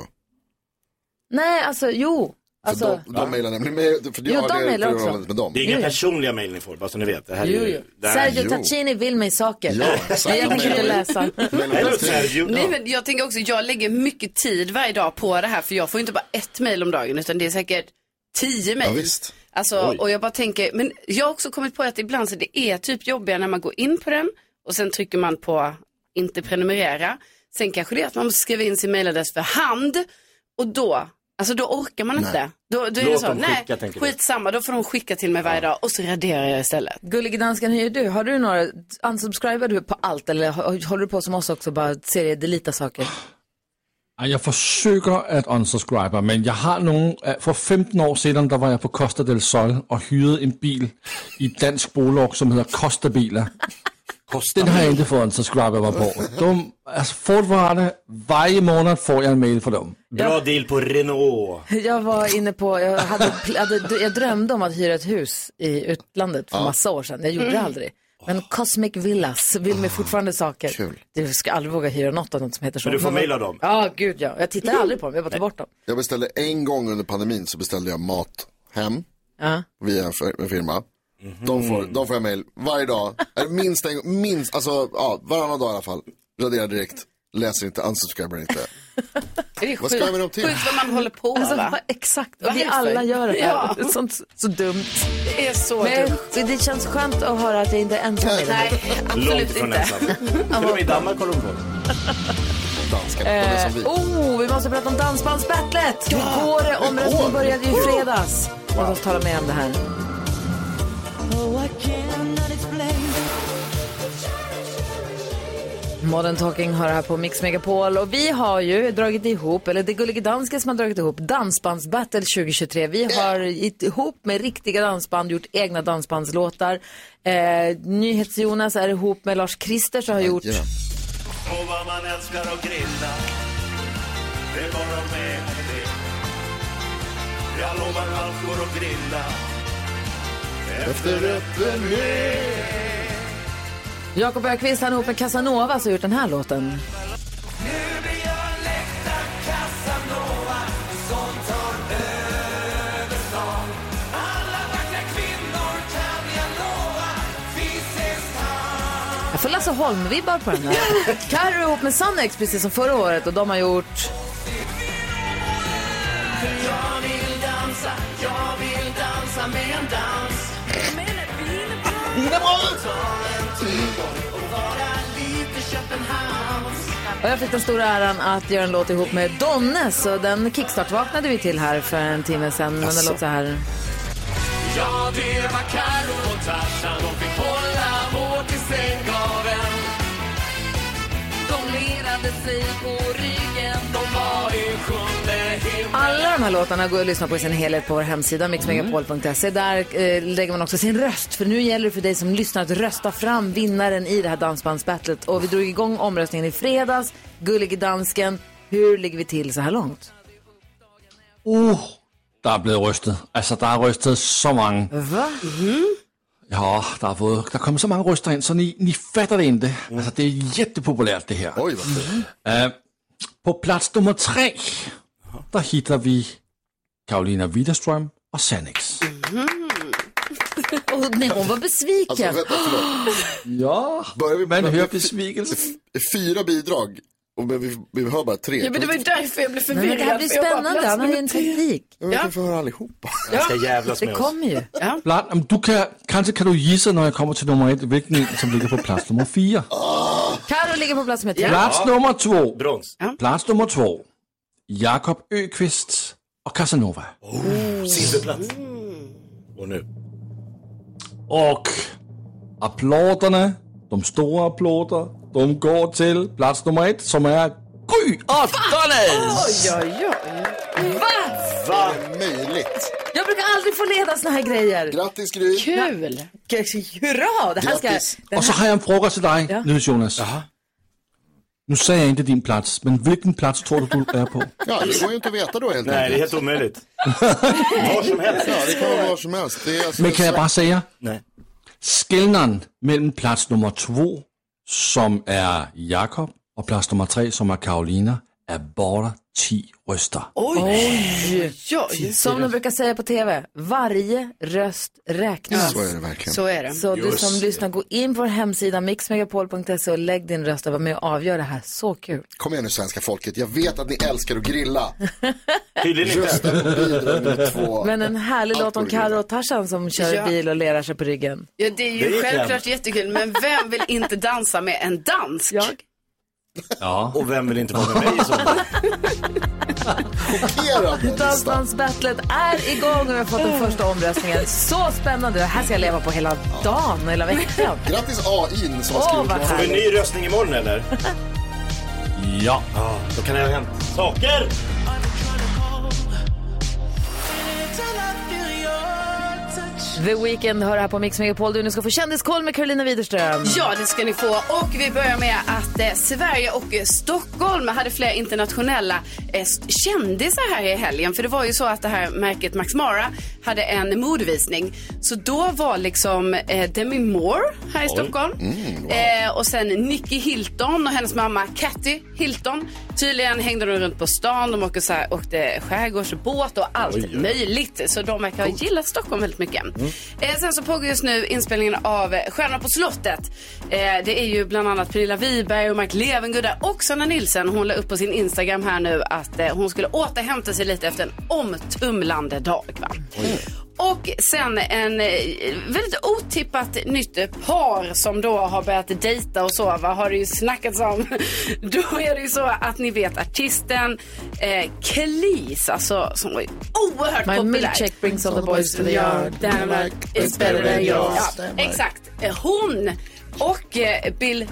Speaker 2: Nej, alltså jo. Alltså,
Speaker 7: för de, de mejlar nämligen mig, för jag
Speaker 2: Jo,
Speaker 7: har
Speaker 2: de
Speaker 7: det
Speaker 2: mejlar också.
Speaker 7: förhållandet med dem.
Speaker 3: Det är inga personliga mejl ni får, bara så ni vet. Det här är ju... det här-
Speaker 2: Sergio Taccini vill mig saker.
Speaker 3: Ja, exakt.
Speaker 2: men jag
Speaker 3: De
Speaker 2: tänker
Speaker 3: är-
Speaker 2: inte läsa.
Speaker 3: Hello, Sergio.
Speaker 6: Nej, men jag tänker också, jag lägger mycket tid varje dag på det här för jag får ju inte bara ett mejl om dagen utan det är säkert tio mejl.
Speaker 7: Ja, visst.
Speaker 6: Alltså,
Speaker 7: Oj.
Speaker 6: och jag bara tänker, men jag har också kommit på att ibland så det är typ jobbigare när man går in på den och sen trycker man på inte prenumerera. Sen kanske det är att man måste skriva in sin mailadress för hand och då, alltså då orkar man
Speaker 2: Nej.
Speaker 6: inte. Då, då är
Speaker 2: Låt
Speaker 6: det så,
Speaker 2: dem skicka,
Speaker 6: nej,
Speaker 2: tänker du.
Speaker 6: skitsamma, då får de skicka till mig varje dag och så raderar jag istället.
Speaker 2: Gullige dansken, hur gör du? Har du några, unsubscribar du på allt eller hå- håller du på som oss också, bara seriedelita saker?
Speaker 9: Ej, Jeg forsøger at unsubscribe, men jeg har nogle... af- For 15 år siden, der var jeg på Costa del Sol og hyrede en bil i et dansk bolog, som hedder Costa Biler. Den har jeg ikke fået unsubscribe mig på. De, altså fortfarande, hver måned får jeg en mail fra dem.
Speaker 3: Bra deal på Renault.
Speaker 2: Jag var inne på, jag, hade, pl- hade, jag drömde om att hyra ett hus i utlandet för
Speaker 9: Ja.
Speaker 2: massa år sedan. Jag gjorde det
Speaker 9: Mm.
Speaker 2: aldrig. Men Cosmic Villas vill mig fortfarande saker.
Speaker 7: kul.
Speaker 2: Du ska aldrig våga hyra något av något som heter så.
Speaker 7: Men du får mejl av dem.
Speaker 2: Ja, gud ja. Jag tittar aldrig på dem, jag bara tar bort dem.
Speaker 7: Jag beställde en gång under pandemin så beställde jag mat hem
Speaker 2: Ja.
Speaker 7: via en fir- en firma.
Speaker 3: Mhm.
Speaker 7: De får, de får jag mejl varje dag, Eller minst en gång, minst, alltså ja, varannan dag i alla fall. Raderar direkt, läser inte, unsubscriber inte.
Speaker 6: Det är
Speaker 7: Vad ska jag med dem till?
Speaker 6: Sjukt vad man håller på
Speaker 2: Alltså,
Speaker 6: va?
Speaker 2: vad- exakt,
Speaker 6: Vad
Speaker 2: vi
Speaker 6: hemskt.
Speaker 2: alla gör det här.
Speaker 6: Ja.
Speaker 2: Sånt, så dumt.
Speaker 6: Det är så
Speaker 2: Men
Speaker 6: dumt.
Speaker 2: det- det känns skönt att höra att jag inte är ensam i det här.
Speaker 3: Långt ifrån ensam. Till och med i Danmark håller de på.
Speaker 7: Danskarna, de är som vi.
Speaker 2: Eh, oh, vi måste prata om Dansbandsbattlet. Hur går det? Omröstningen började ju i fredags. Låt oss tala mer om det här. Modern Talking har det här på Mix Megapol och vi har ju dragit ihop, eller det är Gullige Dansken som har dragit ihop Dansbandsbattle 2023. Vi har gitt ihop med riktiga dansband gjort egna dansbandslåtar. Eh, NyhetsJonas är ihop med Lars Krister som har gjort
Speaker 4: Och vad man älskar att grilla Det var de med på det Jag lovar allt går att grilla Efter öppen
Speaker 2: Jakob Ökvist han är ihop med Casanova som har gjort den här låten. Jag får Lasse Holm-vibbar på den här. Carro är ihop med Sannex precis som förra året och de har gjort...
Speaker 4: Jag vill dansa, jag vill dansa med en dans
Speaker 2: Och jag fick den stora äran att göra en låt ihop med Donne så den kickstart-vaknade vi till här för en timme sedan. Men den
Speaker 4: Jaså.
Speaker 2: låter så här.
Speaker 4: Ja, det var Karo och Tarzan De fick hålla hårt i sänggaveln
Speaker 1: De lerade sig på ryggen.
Speaker 4: De var i sjunde himmel
Speaker 2: Alla de här låtarna går att lyssna på i sin helhet på vår hemsida mixmegapol.se. Där eh, lägger man också sin röst. För nu gäller det för dig som lyssnar att rösta fram vinnaren i det här dansbandsbattlet. Och vi drog igång omröstningen i fredags. Gullige dansken. Hur ligger vi till så här långt?
Speaker 9: Uh, der er blevet rystet. Altså, der er rystet så mange.
Speaker 2: Hvad?
Speaker 9: Ja, der er, fået, der er kommet så mange ryster ind, så ni, ni fatter det ikke. Altså, det er jättepopulært, det her.
Speaker 7: Oj, vad
Speaker 6: Mm.
Speaker 7: fint.
Speaker 9: Øh, på plads nummer tre, der hitter vi Karolina Widerstrøm og Sanix.
Speaker 6: Mhm.
Speaker 2: och, nej, hon var besviken.
Speaker 7: Alltså, vänta, förlåt.
Speaker 9: Ja,
Speaker 7: Börjar vi
Speaker 9: men
Speaker 7: med-
Speaker 9: hur är besvikelsen?
Speaker 7: Fyra bidrag, och men vi, vi hör bara tre.
Speaker 6: Ja, men det var ju därför jag blev
Speaker 2: Nej, men
Speaker 6: förvirrad.
Speaker 2: det här blir
Speaker 6: för jag bara,
Speaker 2: spännande. Han har ju en teknik.
Speaker 7: Ja, men vi kan få höra allihopa.
Speaker 3: Jag ska jävlas
Speaker 2: Det
Speaker 3: med oss.
Speaker 2: kommer ju.
Speaker 9: Blad, om du kan, kanske kan du gissa när jag kommer till nummer ett, vilken som ligger på plats nummer fyra.
Speaker 2: Carro ligger på plats med tre.
Speaker 9: Plats nummer två.
Speaker 3: Brons.
Speaker 9: Plats nummer två. Jakob Öqvist och Casanova.
Speaker 2: Mm.
Speaker 3: Silverplats. Och nu.
Speaker 9: Och applåderna, de stora applåder, de går till plats nummer ett som är Gry Artanes!
Speaker 2: oj, oj. Va?
Speaker 7: Va? Är det möjligt?
Speaker 2: Jag brukar aldrig få leda såna här grejer.
Speaker 7: Grattis Gry!
Speaker 2: Kul! K- Hurra! Det här ska...
Speaker 7: Grattis.
Speaker 2: Den
Speaker 9: Och så
Speaker 2: här...
Speaker 9: har jag en fråga till dig nu Jonas. Nu säger jag inte din plats, men vilken plats tror du du är på?
Speaker 7: Ja, det går ju inte att veta då helt
Speaker 3: Nej, det är
Speaker 7: enkelt.
Speaker 3: helt omöjligt. Var som helst.
Speaker 7: Ja, det kan vara var som helst. Det är alltså
Speaker 9: Men kan jag
Speaker 7: så-
Speaker 9: bara säga?
Speaker 3: Nej.
Speaker 9: Skillnaden mellan plats nummer två, som är Jakob, och plats nummer tre, som är Karolina, är bara 10 röster.
Speaker 2: Oj!
Speaker 6: Oj.
Speaker 2: Som de brukar säga på tv, varje röst räknas.
Speaker 7: Så är det verkligen.
Speaker 6: Så är det.
Speaker 2: Så du
Speaker 7: Just
Speaker 2: som lyssnar, gå in på vår hemsida mixmegapol.se och lägg din röst och var med och avgör det här. Så kul.
Speaker 7: Kom igen nu svenska folket, jag vet att ni älskar att grilla.
Speaker 3: Tydligen
Speaker 7: Rösta på bidrag nummer två.
Speaker 2: Men en härlig låt om
Speaker 7: Alkohol.
Speaker 2: Karo och Tarzan som kör
Speaker 6: Ja.
Speaker 2: bil och lerar sig på ryggen.
Speaker 6: Ja, det är ju
Speaker 3: Det är
Speaker 6: självklart jättekul, men vem vill inte dansa med en dansk? Jag.
Speaker 9: Ja.
Speaker 3: Och vem vill inte vara med mig i sommar?
Speaker 2: Dansbandsbattlet är igång och vi har fått den första omröstningen. Så spännande! Det här ska jag leva på hela dagen, hela veckan.
Speaker 7: Grattis AI som har
Speaker 2: Åh,
Speaker 7: skrivit
Speaker 2: vad
Speaker 7: det
Speaker 3: Får vi
Speaker 7: här.
Speaker 3: en ny röstning imorgon eller?
Speaker 9: Ja.
Speaker 3: Ja, då kan det ha hänt saker.
Speaker 2: The Weeknd hör här på Mix Megapol. Du nu ska få kändiskoll med Carolina Widerström.
Speaker 6: Ja, det ska ni få. Och vi börjar med att eh, Sverige och eh, Stockholm hade flera internationella eh, st- kändisar här i helgen. För det var ju så att det här märket Max Mara hade en modevisning. Så då var liksom eh, Demi Moore här i
Speaker 7: Oj.
Speaker 6: Stockholm.
Speaker 7: Mm, wow.
Speaker 6: eh, och sen Nicky Hilton och hennes mamma Katty Hilton. Tydligen hängde de runt på stan. De åkte, så här, åkte skärgårdsbåt och allt
Speaker 5: Oj, oj. Mm.
Speaker 6: möjligt. Så de verkar ha gillat Stockholm väldigt mycket. Eh, sen så pågår just nu inspelningen av eh, Stjärnorna på slottet. Eh, det är ju bland annat Pernilla Wiberg och Mark Levengood där och Sanna Nilsson. Hon la upp på sin Instagram här nu att eh, hon skulle återhämta sig lite efter en omtumlande dag. Va? Och sen en eh, väldigt otippat nytt par som då har börjat dejta och så, va, har det ju snackats om. Då är det ju så att ni vet artisten eh, Kelis, alltså som var ju oerhört
Speaker 2: My
Speaker 6: populär.
Speaker 2: milkshake brings all the boys to the yard.
Speaker 6: Damn right, it's better than yours. Ja, exakt. Eh, Hon och eh, Bill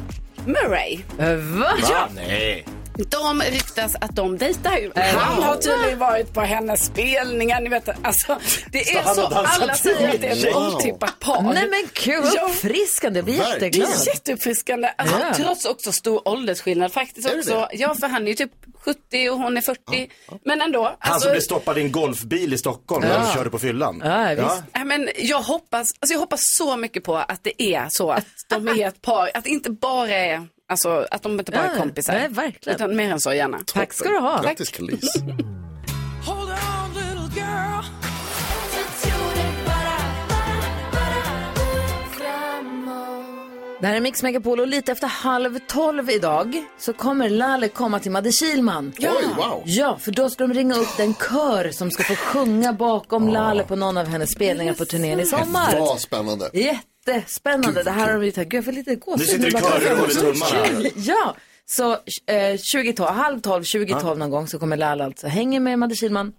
Speaker 6: Murray.
Speaker 2: Eh, Va?
Speaker 6: Ja.
Speaker 3: Nej.
Speaker 6: De ryktas att de dejtar ju. Han har tydligen varit på hennes spelningar. Ni vet, alltså, det
Speaker 2: Så
Speaker 6: är
Speaker 2: han
Speaker 6: så.
Speaker 2: har dansat
Speaker 6: Alla säger att det är ett
Speaker 2: wow.
Speaker 6: otippat par.
Speaker 2: Nej men kul, vad
Speaker 6: Ja.
Speaker 2: uppfriskande. Jag blir jätteglad.
Speaker 6: Det är jätteuppfriskande. Alltså,
Speaker 2: Ja.
Speaker 6: Trots också stor åldersskillnad faktiskt.
Speaker 2: det
Speaker 6: Också.
Speaker 2: det?
Speaker 6: Ja, för han är ju typ 70 och hon är 40. Men ändå.
Speaker 3: Han som blev stoppad i en golfbil i Stockholm när
Speaker 6: Alltså- Ja.
Speaker 3: han körde på fyllan.
Speaker 6: Nej, men jag, hoppas, alltså jag hoppas så mycket på att det är så att de är ett par, att det inte bara är, alltså, att de inte bara är
Speaker 2: Ja,
Speaker 6: kompisar.
Speaker 2: nej, verkligen.
Speaker 6: Utan mer än så gärna.
Speaker 2: Tack ska du ha.
Speaker 7: Grattis Kalis.
Speaker 2: Det här är Mix Megapol och lite efter halv tolv idag så kommer Lalle komma till Madde Kilman.
Speaker 7: Oj, wow.
Speaker 2: Ja, för då ska de ringa upp den kör som ska få sjunga bakom Lalle på någon av hennes spelningar på turnén i sommar.
Speaker 7: Vad spännande.
Speaker 2: Jättespännande. Det här har de ju tagit. Gud, jag får lite gåshud.
Speaker 7: sitter du i körer och håller tummarna.
Speaker 2: Ja, så eh, 20 12, halv tolv, 20 12 någon gång så kommer Lalle alltså hänga med Madde Kilman.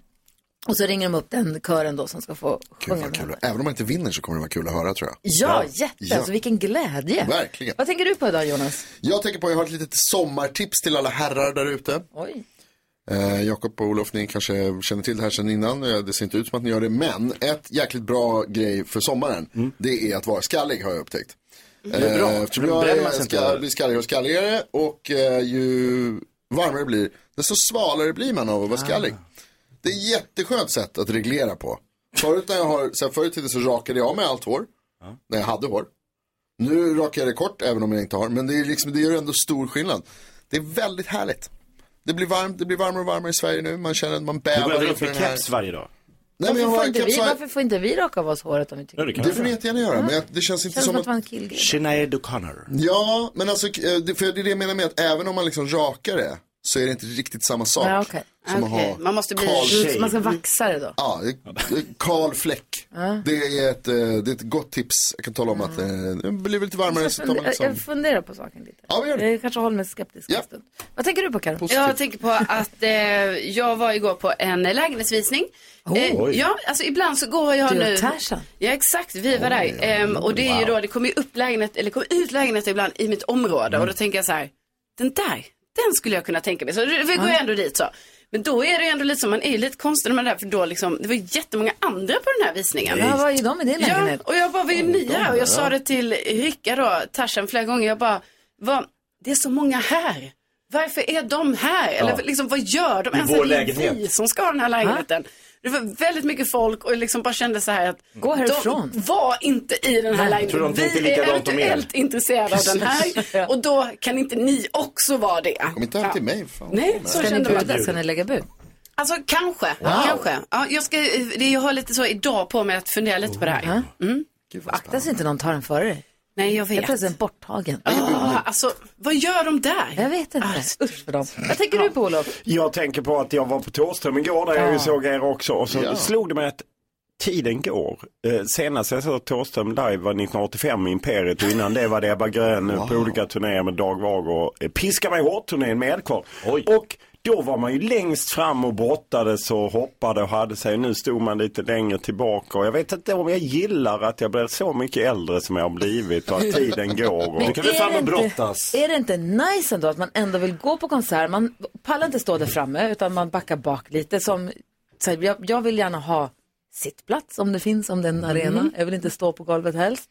Speaker 2: Och så ringer de upp den kören då som ska få sjunga.
Speaker 7: Gud vad kul. Även om man inte vinner så kommer det vara kul att höra tror jag.
Speaker 2: Ja, jätte. Alltså vilken glädje.
Speaker 7: Verkligen.
Speaker 2: Vad tänker du på idag Jonas?
Speaker 7: Jag tänker på, jag har ett litet sommartips till alla herrar där ute.
Speaker 2: Oj.
Speaker 7: Eh, Jakob och Olof, ni kanske känner till det här sedan innan. Eh, Det ser inte ut som att ni gör det, men ett jäkligt bra grej för sommaren, det är att vara skallig har jag upptäckt.
Speaker 3: Mm. Det är bra,
Speaker 7: Eh,
Speaker 3: för
Speaker 7: Eftersom
Speaker 3: då
Speaker 7: jag
Speaker 3: bränner
Speaker 7: är,
Speaker 3: man sig inte
Speaker 7: ska
Speaker 3: heller.
Speaker 7: bli skalligare och skalligare och eh, ju varmare det blir, desto svalare blir man av att vara skallig.
Speaker 3: Ah.
Speaker 7: Det är ett jätteskönt sätt att reglera på. Förut när jag har, så här, förr i tiden så rakade jag med allt hår, när jag hade hår. Nu rakar jag det kort även om jag inte har, men det, är liksom, det gör ändå stor skillnad. Det är väldigt härligt. Det blir, varmt, det blir varmare och varmare i Sverige nu, man känner att man
Speaker 3: Du går
Speaker 7: bävar
Speaker 3: över upp
Speaker 7: inför
Speaker 3: i
Speaker 7: den här.
Speaker 3: keps varje dag.
Speaker 7: Nej, men jag
Speaker 2: varför,
Speaker 7: har
Speaker 2: får
Speaker 7: en
Speaker 2: inte vi,
Speaker 7: kapsaj-
Speaker 2: varför får inte vi raka av oss håret om vi tycker
Speaker 7: det, får ni jättegärna göra, men jag, det känns inte
Speaker 2: Känns
Speaker 7: som
Speaker 2: som
Speaker 7: att...
Speaker 2: att man killgrej.
Speaker 3: Shania O'Connor.
Speaker 7: Ja, men alltså, eh, det- för det är det jag menar med att även om man liksom rakar det så är det inte riktigt samma sak.
Speaker 2: Ja, okej.
Speaker 7: Som
Speaker 2: Okej,
Speaker 7: att ha
Speaker 2: man måste bli-
Speaker 7: kal shave.
Speaker 2: Man ska vaxa det då.
Speaker 7: Ja, eh, kal fläck.
Speaker 2: Ja.
Speaker 7: Det är, ett, eh, det är ett gott tips. Jag kan tala om att eh, det blir lite varmare. Så tar man
Speaker 2: eh, Jag, Eh,
Speaker 7: liksom...
Speaker 2: jag funderar på saken lite.
Speaker 7: Ja, vi gör
Speaker 2: det. Jag kanske håller mig skeptisk en stund. Vad tänker du på Karin?
Speaker 6: Jag tänker på att eh, jag var igår på en lägenhetsvisning.
Speaker 2: Oj.
Speaker 6: ja, alltså ibland så går jag
Speaker 2: Du och
Speaker 6: nu.
Speaker 2: Tarzan.
Speaker 6: Ja, exakt. Vi var där. Ehm, och det är ju
Speaker 2: Wow.
Speaker 6: då, det kommer ju upp lägenhet, eller kommer ut lägenheter ibland i mitt område. Och då
Speaker 2: Mm.
Speaker 6: tänker jag så här, den där, den skulle jag kunna tänka mig. Så vi går jag ändå dit så. Men då är det ju ändå lite så, man är ju lite konstig när man är där, för då liksom, det var ju jättemånga andra på den här visningen.
Speaker 2: Ja, vad är de i din lägenhet?
Speaker 6: Ja, och jag bara, vi är
Speaker 2: de
Speaker 6: nya. Och
Speaker 2: där,
Speaker 6: jag sa
Speaker 2: ja.
Speaker 6: det till Ricka då, Tarzan flera gånger. Jag bara, vad, det är så många här. Varför är de här? Eller liksom, vad gör de?
Speaker 3: I
Speaker 6: ens?
Speaker 3: vår
Speaker 6: Det är
Speaker 3: lägenhet.
Speaker 6: vi som ska ha den här lägenheten. Det var väldigt mycket folk och jag liksom bara kände så här att
Speaker 2: Gå härifrån.
Speaker 6: de var inte i den här
Speaker 2: Nej.
Speaker 6: lägenheten.
Speaker 3: Tror de tänkte
Speaker 6: vi är
Speaker 3: likadant om er.
Speaker 6: eventuellt intresserade av den här och då kan inte ni också vara det.
Speaker 7: Kom inte hem till mig. Fan.
Speaker 6: Nej, så
Speaker 2: ska ni
Speaker 6: kände man.
Speaker 2: buda? Ska ni lägga bud?
Speaker 6: Alltså kanske,
Speaker 2: Wow.
Speaker 6: kanske. Ja, jag, ska, det, jag har lite så idag på mig att fundera lite på det här. Mm.
Speaker 2: Akta så inte någon tar den före dig.
Speaker 6: Nej, jag vet.
Speaker 2: Helt plötsligt borttagen.
Speaker 6: Ah, alltså, vad gör de där?
Speaker 2: Jag vet inte. Ah, Usch för dem. Vad tänker du på Olof?
Speaker 12: Jag tänker på att jag var på Thåström igår där jag
Speaker 2: Ja.
Speaker 12: ju såg er också och så
Speaker 2: Ja.
Speaker 12: slog det mig att tiden går. Eh, senast jag såg Thåström live var 1985 i Imperiet och innan det var det Ebba Grön eh, på olika turnéer med Dag Wager och eh, Piska mig hårt-turnén med Edkvarn. Och då var man ju längst fram och brottades och hoppade och hade sig. Nu stod man lite längre tillbaka och jag vet inte om jag gillar att jag blir så mycket äldre som jag har blivit och att tiden går. Och...
Speaker 2: Men är det inte- Är det inte nice ändå att man ändå vill gå på konsert? Man pallar inte stå där framme utan man backar bak lite. Som, så här, jag, jag vill gärna ha sittplats om det finns, om det är en arena. Jag vill inte stå på golvet helst.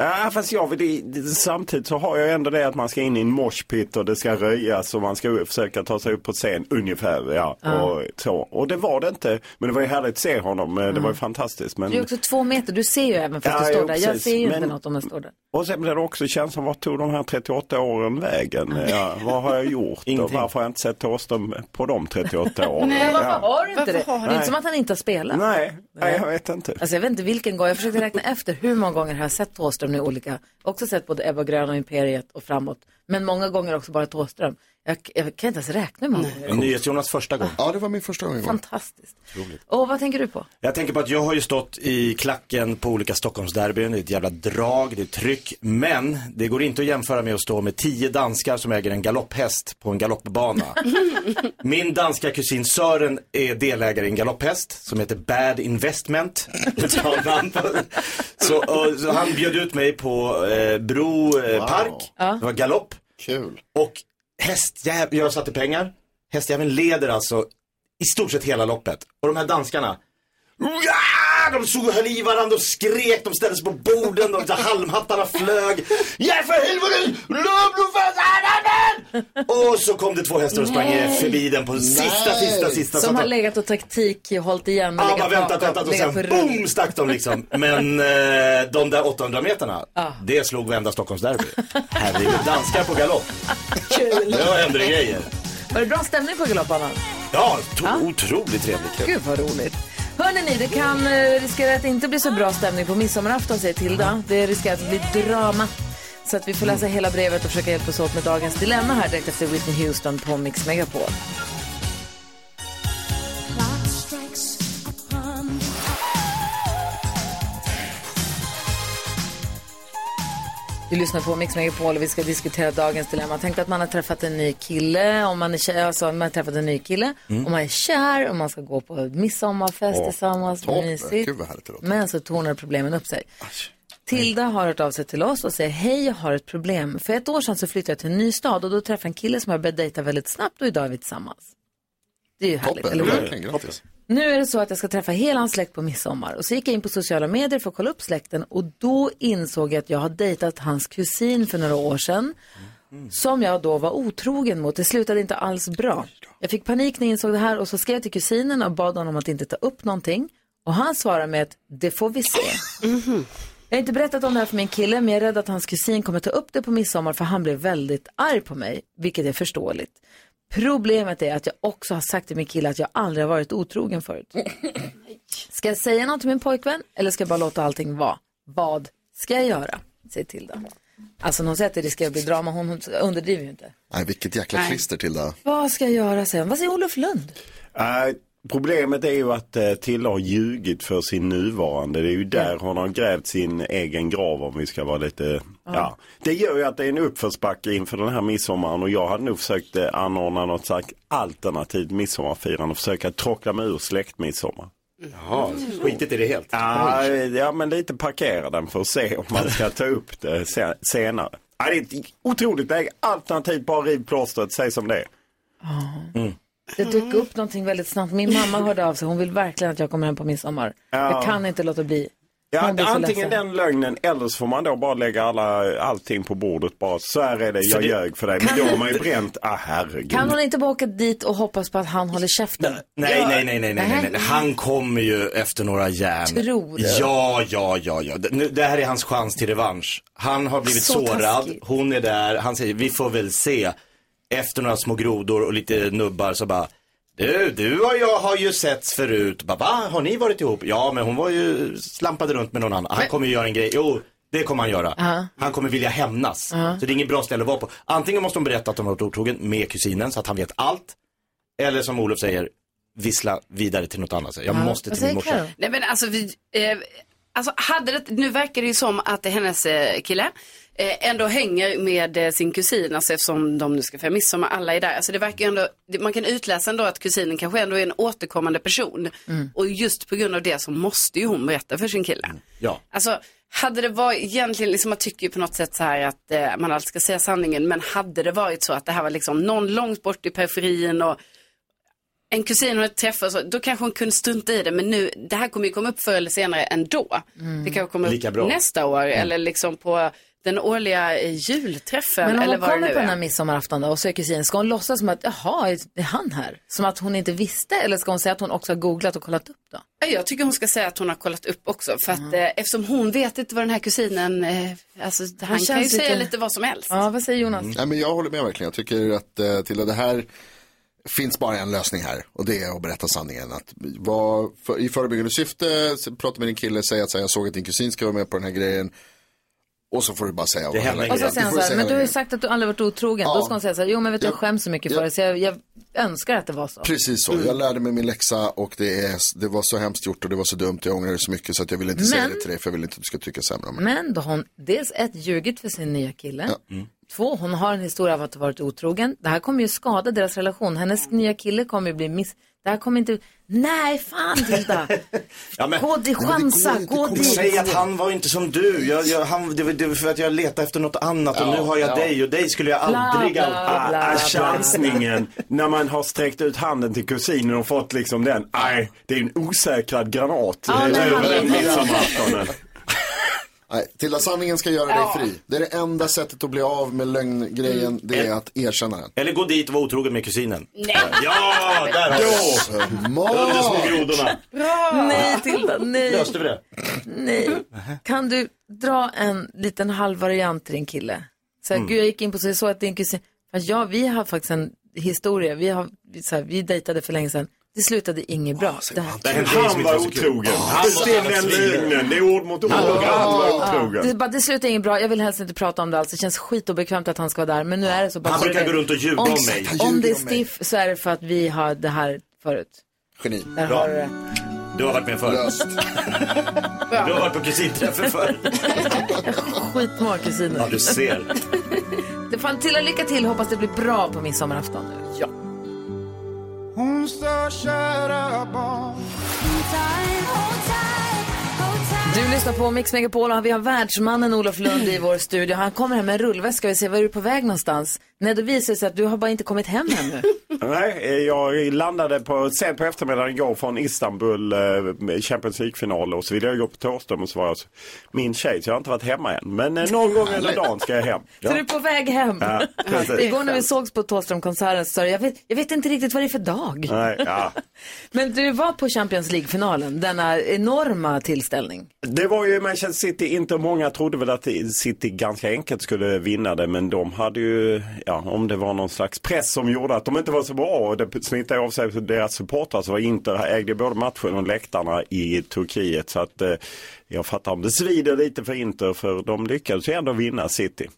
Speaker 12: Ja, fast jag vill, i- det- samtidigt så har jag ändå det att man ska in i en moshpit och det ska röjas och man ska försöka ta sig upp på scen ungefär. Ja,
Speaker 2: Ja.
Speaker 12: Och, så. och det var det inte, men det var ju härligt att se honom, eh, det var ju fantastiskt. Men...
Speaker 2: Du är också två meter, du ser ju även fast
Speaker 12: Ja,
Speaker 2: du står
Speaker 12: jo,
Speaker 2: där. Jag
Speaker 12: precis.
Speaker 2: ser ju inte
Speaker 12: Men-
Speaker 2: något om jag står där.
Speaker 12: Och sen blir det också känslan, vart tog de här 38 åren vägen? Ja, vad har jag gjort och varför har jag inte sett Thåström på de 38 åren?
Speaker 2: Nej, varför
Speaker 12: ja.
Speaker 2: har du inte det?
Speaker 12: Varför har du
Speaker 2: det är inte
Speaker 12: inte?
Speaker 2: som att han inte har spelat.
Speaker 12: Nej, nej, jag vet inte.
Speaker 2: Alltså jag vet inte vilken gång, jag försökte räkna efter hur många gånger har jag sett Thåström nu olika, också sett både Ebba Grön och Imperiet och framåt, men många gånger också bara Thåström. Jag, jag kan inte ens räkna hur många gånger. det
Speaker 3: Nyhets-Jonas första gång.
Speaker 7: Ja, det var min första gång
Speaker 2: är. Fantastiskt. Och vad tänker du på?
Speaker 3: Jag tänker på att jag har ju stått i klacken på olika Stockholmsderbyn. Det är ett jävla drag, det är tryck. Men det går inte att jämföra med att stå med tio danskar som äger en galopphäst på en galoppbana. Min danska kusin Sören är delägare i en galopphäst som heter Bad Investment. Utav namn. så, och, så han bjöd ut mig på eh, Bro eh, park. Det var galopp.
Speaker 7: Kul.
Speaker 3: Och hästjäveln, jag satte pengar. Hästjäveln leder alltså i stort sett hela loppet. Och de här danskarna, Ja! De såg och höll i varandra, de skrek, de ställde sig på borden, de där halmhattarna flög. Ja för helvete! Låt nu fast annan! Och så kom det två hästar och sprang
Speaker 2: Nej.
Speaker 3: förbi den på sista,
Speaker 2: Nej.
Speaker 3: sista, sista. så
Speaker 2: Som
Speaker 3: att
Speaker 2: har
Speaker 3: de-
Speaker 2: legat och taktik, hållit igen
Speaker 3: Ja,
Speaker 2: legat
Speaker 3: bara väntat,
Speaker 2: bakom,
Speaker 3: väntat och sen
Speaker 2: legat på rygg.
Speaker 3: boom stack de liksom. Men eh, de där 800 meterna,
Speaker 2: Ah.
Speaker 3: det slog varenda Stockholmsderby. Herregud, danskar på galopp.
Speaker 2: Kul.
Speaker 3: Det var ändå grejer.
Speaker 2: Var det bra stämning på galoppbanan?
Speaker 3: Ja, to- otroligt trevligt.
Speaker 2: Gud vad roligt. Hörrni ni, det kan eh, riskera att inte bli så bra stämning på midsommarafton säger Tilda. Det riskerar att bli drama. Så att vi får läsa hela brevet och försöka hjälpas åt med dagens dilemma här direkt efter Whitney Houston på Mix Megapol. Du lyssnar på Mix Megapol och vi ska diskutera dagens dilemma. Tänk dig att man har träffat en ny kille, om man är kär, alltså man har träffat en ny kille,
Speaker 8: Mm.
Speaker 2: och man är kär och man ska gå på midsommarfest
Speaker 8: Åh,
Speaker 2: tillsammans,
Speaker 8: toppen.
Speaker 2: mysigt.
Speaker 8: Gud, vad härligt det låter.
Speaker 2: Men så tornar problemen upp sig. Tilda har hört av sig till oss och säger hej, jag har ett problem. För ett år sedan så flyttade jag till en ny stad och då träffade jag en kille som jag började dejta väldigt snabbt och idag är vi tillsammans. Det är ju härligt, eller hur?
Speaker 7: Verkligen, grattis.
Speaker 2: Nu är det så att jag ska träffa hela hans släkt på midsommar. Och så gick jag in på sociala medier för att kolla upp släkten och då insåg jag att jag har dejtat hans kusin för några år sedan. Som jag då var otrogen mot. Det slutade inte alls bra. Jag fick panik när jag insåg det här och så skrev jag till kusinen och bad honom att inte ta upp någonting. Och han svarade med ett det får vi se. Jag har inte berättat om det här för min kille men jag är rädd att hans kusin kommer ta upp det på midsommar för han blev väldigt arg på mig. Vilket är förståeligt. Problemet är att jag också har sagt till min kille att jag aldrig har varit otrogen förut. Ska jag säga något till min pojkvän eller ska jag bara låta allting vara? Vad ska jag göra? Säg till då. Alltså när hon säger att det riskerar att bli drama, hon hon underdriver ju inte.
Speaker 7: Nej, vilket jäkla
Speaker 2: Nej.
Speaker 7: klister till det.
Speaker 2: Vad ska jag göra sen? Vad säger Olof Lund?
Speaker 12: Nej, Eh, problemet är ju att eh, Tilla har ljugit för sin nuvarande. Det är ju där hon har grävt sin egen grav om vi ska vara lite, ja. Det gör ju att det är en uppförsbacke inför den här midsommaren och jag hade nog försökt eh, anordna något slags alternativt midsommarfirande och försöka tråckla mig ur släktmidsommar. Mm.
Speaker 3: Jaha, skitit i det helt.
Speaker 12: Ja, ja, men lite parkera den för att se om man ska ta upp det se- senare. Ja, det är ett otroligt läge. Alternativt bara riv plåstret, säg som det är. Mm.
Speaker 2: Det dök upp någonting väldigt snabbt. Min mamma hörde av sig. Hon vill verkligen att jag kommer hem på midsommar.
Speaker 12: Ja.
Speaker 2: Jag kan inte låta bli.
Speaker 12: Ja,
Speaker 2: Man blir så
Speaker 12: antingen
Speaker 2: ledsen.
Speaker 12: den lögnen eller så får man då bara lägga alla, allting på bordet. Bara, så här är det,
Speaker 3: Så
Speaker 12: jag
Speaker 3: det-
Speaker 12: ljög för dig. Men
Speaker 2: Kan
Speaker 12: då
Speaker 2: du-
Speaker 12: har man ju bränt, ah herregud.
Speaker 2: Kan hon inte bara åka dit och hoppas på att han håller käften?
Speaker 3: Nej, nej, nej, nej, nej, nej, nej.
Speaker 2: Nej.
Speaker 3: Han kommer ju efter några järn.
Speaker 2: Tror du?
Speaker 3: Ja, ja, ja, ja. Det, nu, det här är hans chans till revansch. Han har blivit
Speaker 2: Så
Speaker 3: sårad,
Speaker 2: taskigt.
Speaker 3: hon är där, han säger vi får väl se. Efter några små grodor och lite nubbar så bara, du, du och jag har ju setts förut. Bara, Va, har ni varit ihop? Ja, men hon var ju, slampade runt med någon annan. Han kommer ju göra en grej, jo, det kommer han göra.
Speaker 2: Ja.
Speaker 3: Han kommer vilja hämnas.
Speaker 2: Ja.
Speaker 3: Så det är inget bra ställe att vara på. Antingen måste hon berätta att hon varit otrogen med kusinen så att han vet allt. Eller som Olof säger, vissla vidare till något annat. Så Jag
Speaker 6: Ja.
Speaker 3: måste till min morsa.
Speaker 6: Nej men alltså vi, eh, alltså hade det, nu verkar det ju som att hennes eh, kille eh, ändå hänger med eh, sin kusin, alltså eftersom de nu ska fira midsommar, alla är där. Alltså det verkar ju ändå, det- man kan utläsa ändå att kusinen kanske ändå är en återkommande person.
Speaker 1: Mm.
Speaker 6: Och just på grund av det så måste ju hon berätta för sin kille.
Speaker 3: Ja.
Speaker 6: Alltså, hade det varit egentligen, liksom, man tycker ju på något sätt så här att eh, man alltid ska säga sanningen, men hade det varit så att det här var liksom någon långt bort i periferin och en kusin hon träffar, så, då kanske hon kunde strunta i det, men nu, det här kommer ju komma upp förr eller senare ändå.
Speaker 2: Mm.
Speaker 6: Det kanske kommer
Speaker 2: Lika
Speaker 6: upp
Speaker 2: bra.
Speaker 6: nästa år
Speaker 2: Mm.
Speaker 6: eller liksom på den årliga eh, julträffen
Speaker 2: Men om
Speaker 6: eller
Speaker 2: hon
Speaker 6: vad det nu
Speaker 2: kommer på den här
Speaker 6: är.
Speaker 2: midsommarafton då och söker kusin, ska hon låtsas som att jaha, är han här? Som att hon inte visste eller ska hon säga att hon också har googlat och kollat upp då?
Speaker 6: Ja, Jag tycker hon ska säga att hon har kollat upp också, för att
Speaker 2: Mm.
Speaker 6: eh, eftersom hon vet inte vad den här kusinen, eh, alltså han kan ju
Speaker 2: känns
Speaker 6: säga
Speaker 2: lite-
Speaker 6: lite vad som helst.
Speaker 2: Ja, vad säger Jonas?
Speaker 7: Nej, men jag håller med verkligen. Jag tycker att eh, Tilda, det här finns bara en lösning här och det är att berätta sanningen. Att vara för, I förebyggande syfte, s- prata med din kille, säga att så här, jag såg att din kusin ska vara med på den här grejen. Och så får du bara säga vad hela
Speaker 2: Och så
Speaker 7: grejen.
Speaker 2: säger han
Speaker 7: får
Speaker 2: så här,
Speaker 7: säga
Speaker 2: men
Speaker 7: hela
Speaker 2: du har ju
Speaker 7: grejen."
Speaker 2: sagt att du aldrig varit otrogen.
Speaker 7: Ja.
Speaker 2: Då ska hon säga så här, jo men vet du, jag
Speaker 7: Ja.
Speaker 2: skäms så mycket
Speaker 7: Ja.
Speaker 2: för det så jag, jag önskar att det var så.
Speaker 7: Precis så,
Speaker 2: Mm.
Speaker 7: jag lärde mig min läxa och det, är, det var så hemskt gjort och det var så dumt. Jag ångrar det så mycket så att jag vill inte säga
Speaker 2: Men-
Speaker 7: det till dig för jag vill inte att du ska tycka sämre om mig.
Speaker 2: Men då har hon dels ett ljugit för sin nya kille. Två, hon har en historia av att ha varit otrogen. Det här kommer ju skada deras relation. Hennes nya kille kommer ju bli miss... Det här kommer inte... Nej, fan Tilda!
Speaker 3: Ja, men-
Speaker 2: Gå dit, chansa, gå dit!
Speaker 3: Säg att han var inte som du. Jag, jag, han, det, var, det var för att jag letade efter något annat och
Speaker 12: Ja,
Speaker 3: nu har jag
Speaker 12: ja.
Speaker 3: dig och dig skulle jag
Speaker 12: Bla,
Speaker 3: aldrig...
Speaker 12: bla,
Speaker 3: aldrig-
Speaker 12: bla,
Speaker 3: Ah, ah,
Speaker 12: chansningen när man har sträckt ut handen till kusinen och fått liksom den, nej, det är en osäkrad granat
Speaker 7: Ja, nej,
Speaker 12: över
Speaker 7: han-
Speaker 12: midsommaraftonen.
Speaker 7: Nej, Tilda, sanningen ska göra dig fri. Det är det enda sättet att bli av med lögngrejen,
Speaker 2: Mm.
Speaker 7: det är att erkänna den.
Speaker 3: Eller gå dit och vara otrogen med kusinen.
Speaker 6: Nej.
Speaker 3: Ja, där har
Speaker 7: Då!
Speaker 3: Under små grodorna.
Speaker 2: Nej Tilda, nej.
Speaker 3: Löste vi Ah. det?
Speaker 2: Nej. Kan du dra en liten halv variant till din kille? Så här,
Speaker 1: Mm.
Speaker 2: gud jag gick in på så jag såg att din kusin, för ja vi har faktiskt en historia, vi, har, vi- så här, vi dejtade för länge sedan, det slutade inget bra. Det här-
Speaker 12: Men Han var otrogen. Han ställde den lögnen. Det är ord mot ord. Han var
Speaker 2: Det, är
Speaker 12: otrogen.
Speaker 2: bara, det slutar inget bra, jag vill helst inte prata om det alls. Det känns skitobekvämt att han ska vara där. Men nu är det så. Bara
Speaker 3: Han
Speaker 2: så
Speaker 3: brukar
Speaker 2: det-
Speaker 3: gå runt och ljuga
Speaker 2: om,
Speaker 3: om mig. Han
Speaker 2: Om
Speaker 3: ljuger
Speaker 2: det är
Speaker 3: om mig.
Speaker 2: stiff så är det för att vi har det här förut.
Speaker 7: Geni.
Speaker 2: Där
Speaker 3: Bra.
Speaker 2: har du det.
Speaker 3: Du har varit med förr. Du har varit på kusinträffen förr.
Speaker 2: Skitmål kusiner.
Speaker 3: Ja, du ser.
Speaker 2: Det fan, till lycka till, hoppas det blir bra på midsommarafton nu. Ja.
Speaker 4: Hon sa kära barn
Speaker 2: Du lyssnar på Mix Megapol och vi har världsmannen Olof Lund i vår studio. Han kommer hem med en rullväska och vi ser var är du på väg någonstans. Nej, då visar det sig att du har bara inte kommit hem ännu.
Speaker 12: Nej, eh, jag landade på, sent på eftermiddagen igår från Istanbul, eh, Champions League-final och så ville jag gå på Thåström och så var jag så- min tjej så jag har inte varit hemma än. Men eh, någon gång under dagen ska jag hem.
Speaker 2: Så du är på väg hem.
Speaker 12: Ja, precis.
Speaker 2: Igår när vi sågs på Thåströmkonserten så sa du, jag vet, jag vet inte riktigt vad det är för dag.
Speaker 12: Nej, ja.
Speaker 2: Men du var på Champions League-finalen, denna enorma tillställning.
Speaker 12: Det var ju Manchester City, inte många trodde väl att City ganska enkelt skulle vinna det men de hade ju, ja om det var någon slags press som gjorde att de inte var så bra och det smittade av sig på deras supportrar så var Inter ägde både matchen och läktarna i Turkiet så att eh, jag fattar om det svider lite för Inter för de lyckades ju ändå vinna City.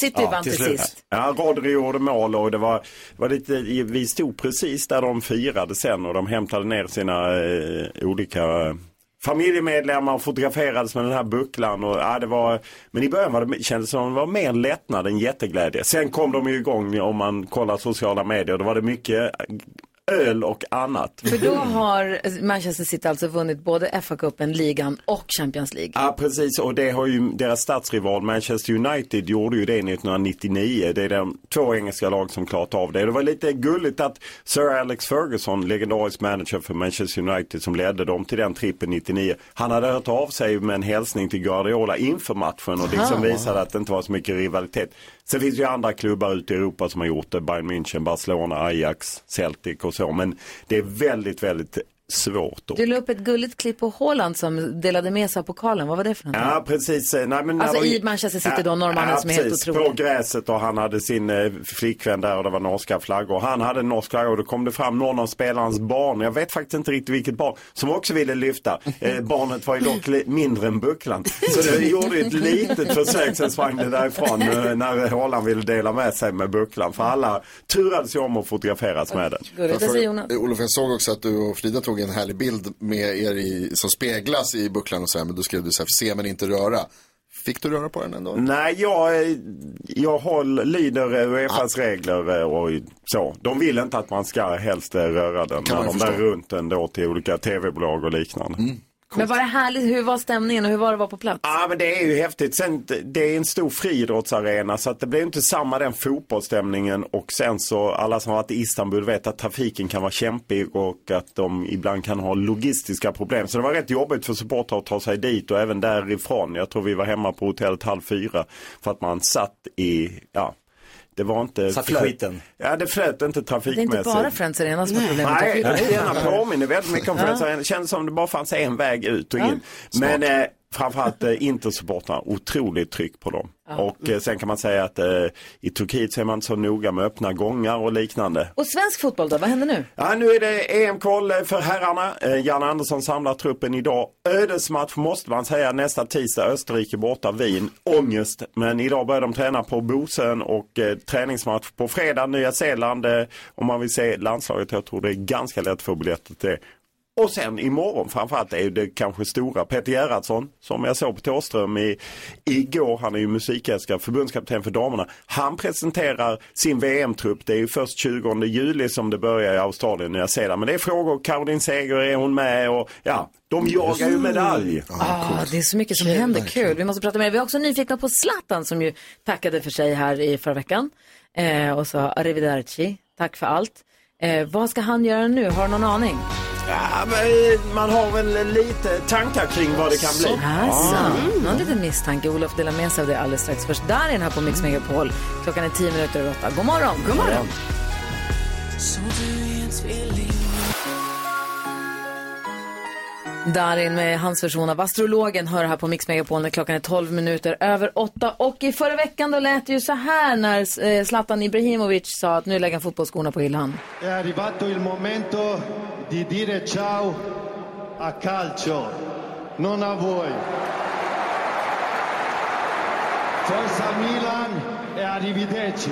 Speaker 2: City vann till
Speaker 12: slut.
Speaker 2: sist.
Speaker 12: Ja, Rodri gjorde mål och det var, var lite, vi stod precis där de firade sen och de hämtade ner sina eh, olika eh, familjemedlemmar och fotograferades med den här bucklan. Och, ja, det var, men i början var det, kändes det som det var mer lättnad än jätteglädje. Sen kom de ju igång om man kollar sociala medier, då var det mycket öl och annat.
Speaker 2: För då har Manchester City alltså vunnit både FA-cupen, ligan och Champions League.
Speaker 12: Ja precis och det har ju deras statsrival Manchester United gjorde ju det 1999. Det är de två engelska lag som klarat av det. Det var lite gulligt att Sir Alex Ferguson, legendarisk manager för Manchester United som ledde dem till den trippen 99. Han hade hört av sig med en hälsning till Guardiola inför matchen och liksom
Speaker 13: Aha.
Speaker 12: visade att det inte var så mycket rivalitet. Sen finns det ju andra klubbar ute i Europa som har gjort det. Bayern München, Barcelona, Ajax, Celtic och så. Men det är väldigt, väldigt svårt. Då.
Speaker 2: Du la upp ett gulligt klipp på Haaland som delade med sig av pokalen. Vad var det för något?
Speaker 12: Ja, precis. Eh, Nej, men
Speaker 2: Alltså
Speaker 12: när de-
Speaker 2: i Manchester City då,
Speaker 12: Ja,
Speaker 2: norrmannen
Speaker 12: ja,
Speaker 2: som är helt
Speaker 12: precis.
Speaker 2: otrolig.
Speaker 12: På gräset och han hade sin eh, flickvän där och det var norska flaggor. Han hade en norsk flagga och då kom det fram någon av spelarens barn, jag vet faktiskt inte riktigt vilket barn, som också ville lyfta. Eh, barnet var ju dock li- mindre än bucklan. Så det gjorde ett litet försök, sen sprang det därifrån eh, när Holland ville dela med sig med bucklan. För alla turades ju om att fotograferas med den.
Speaker 2: Gulligt. Vad säger Jonas?
Speaker 7: Eh, Olof, jag såg också att du och Frida tog en härlig bild med er i, som speglas i bucklan och så här, men då skrev du så här, se men inte röra. Fick du röra på den ändå?
Speaker 12: Nej, jag, eh, jag håll, lyder eh,
Speaker 7: Ah.
Speaker 12: Uefas regler eh, och så. De vill inte att man ska helst eh, röra den.
Speaker 7: Kan
Speaker 12: när
Speaker 7: man
Speaker 12: de
Speaker 7: förstå.
Speaker 12: där runt den då till olika tv-bolag och liknande.
Speaker 2: Men var det härligt? Hur var stämningen och hur var det att vara på plats?
Speaker 12: Ja men det är ju häftigt. Sen, det är en stor friidrottsarena så att det blir ju inte samma den fotbollsstämningen och sen så alla som har varit i Istanbul vet att trafiken kan vara kämpig och att de ibland kan ha logistiska problem. Så det var rätt jobbigt för supportrar att ta sig dit och även därifrån. Jag tror vi var hemma på hotellet halv fyra för att man satt i, ja, det var inte...
Speaker 3: Satt i skiten.
Speaker 12: Ja det flöt inte
Speaker 2: Det är
Speaker 12: trafikmässigt.
Speaker 2: inte bara Friends Arena som har problem med
Speaker 12: Nej,
Speaker 2: trafiken.
Speaker 12: denna påminner väldigt mycket om Friends Arena. Det kändes som det bara fanns en väg ut och in. Men eh, framförallt eh, Intersupportrarna, otroligt tryck på dem.
Speaker 2: Ja.
Speaker 12: Och eh, sen kan man säga att eh, i Turkiet så är man inte så noga med öppna gångar och liknande.
Speaker 2: Och svensk fotboll då? Vad händer nu?
Speaker 12: Ja, nu är det EM-kval för herrarna. Eh, Jan Andersson samlar truppen idag. Ödesmatch måste man säga nästa tisdag. Österrike borta, Wien. Ångest. Men idag börjar de träna på Bosön och eh, träningsmatch på fredag. Nya Zeeland. Eh, om man vill se landslaget, jag tror det är ganska lätt att få biljetter till det. Och sen imorgon framförallt är ju det kanske stora Peter Gerhardsson som jag såg på Thåström i, igår. Han är ju musikälskare, förbundskapten för damerna. Han presenterar sin VM-trupp. Det är ju först 20 juli som det börjar i Australien och Nya Zeeland. Men det är frågor. Caroline Seger, är hon med? Och ja, de jagar ju medalj.
Speaker 2: Ah, det är så mycket som händer. Kul. Vi måste prata mer. Vi är också nyfikna på Zlatan som ju tackade för sig här i förra veckan. Eh, och sa arrivederci, tack för allt. Eh, vad ska han göra nu? Har du någon aning?
Speaker 12: Ja, men man har väl lite tankar kring vad det kan bli.
Speaker 2: Alltså,
Speaker 12: Ja.
Speaker 2: någon liten misstanke. Olof delar med sig av det alldeles strax. Först där är den här på Mix Megapol. Klockan är tio minuter över åtta. God morgon! God morgon! Darin med hans version av Astrologen hör här på Mix Megapol när klockan är 12 minuter över 8. Och i förra veckan då lät det ju så här när eh, Zlatan Ibrahimovic sa att nu lägger han fotbollsskorna på hyllan.
Speaker 14: È arrivato il momento di dire ciao a calcio, non a voi. Forza Milan e arrivederci.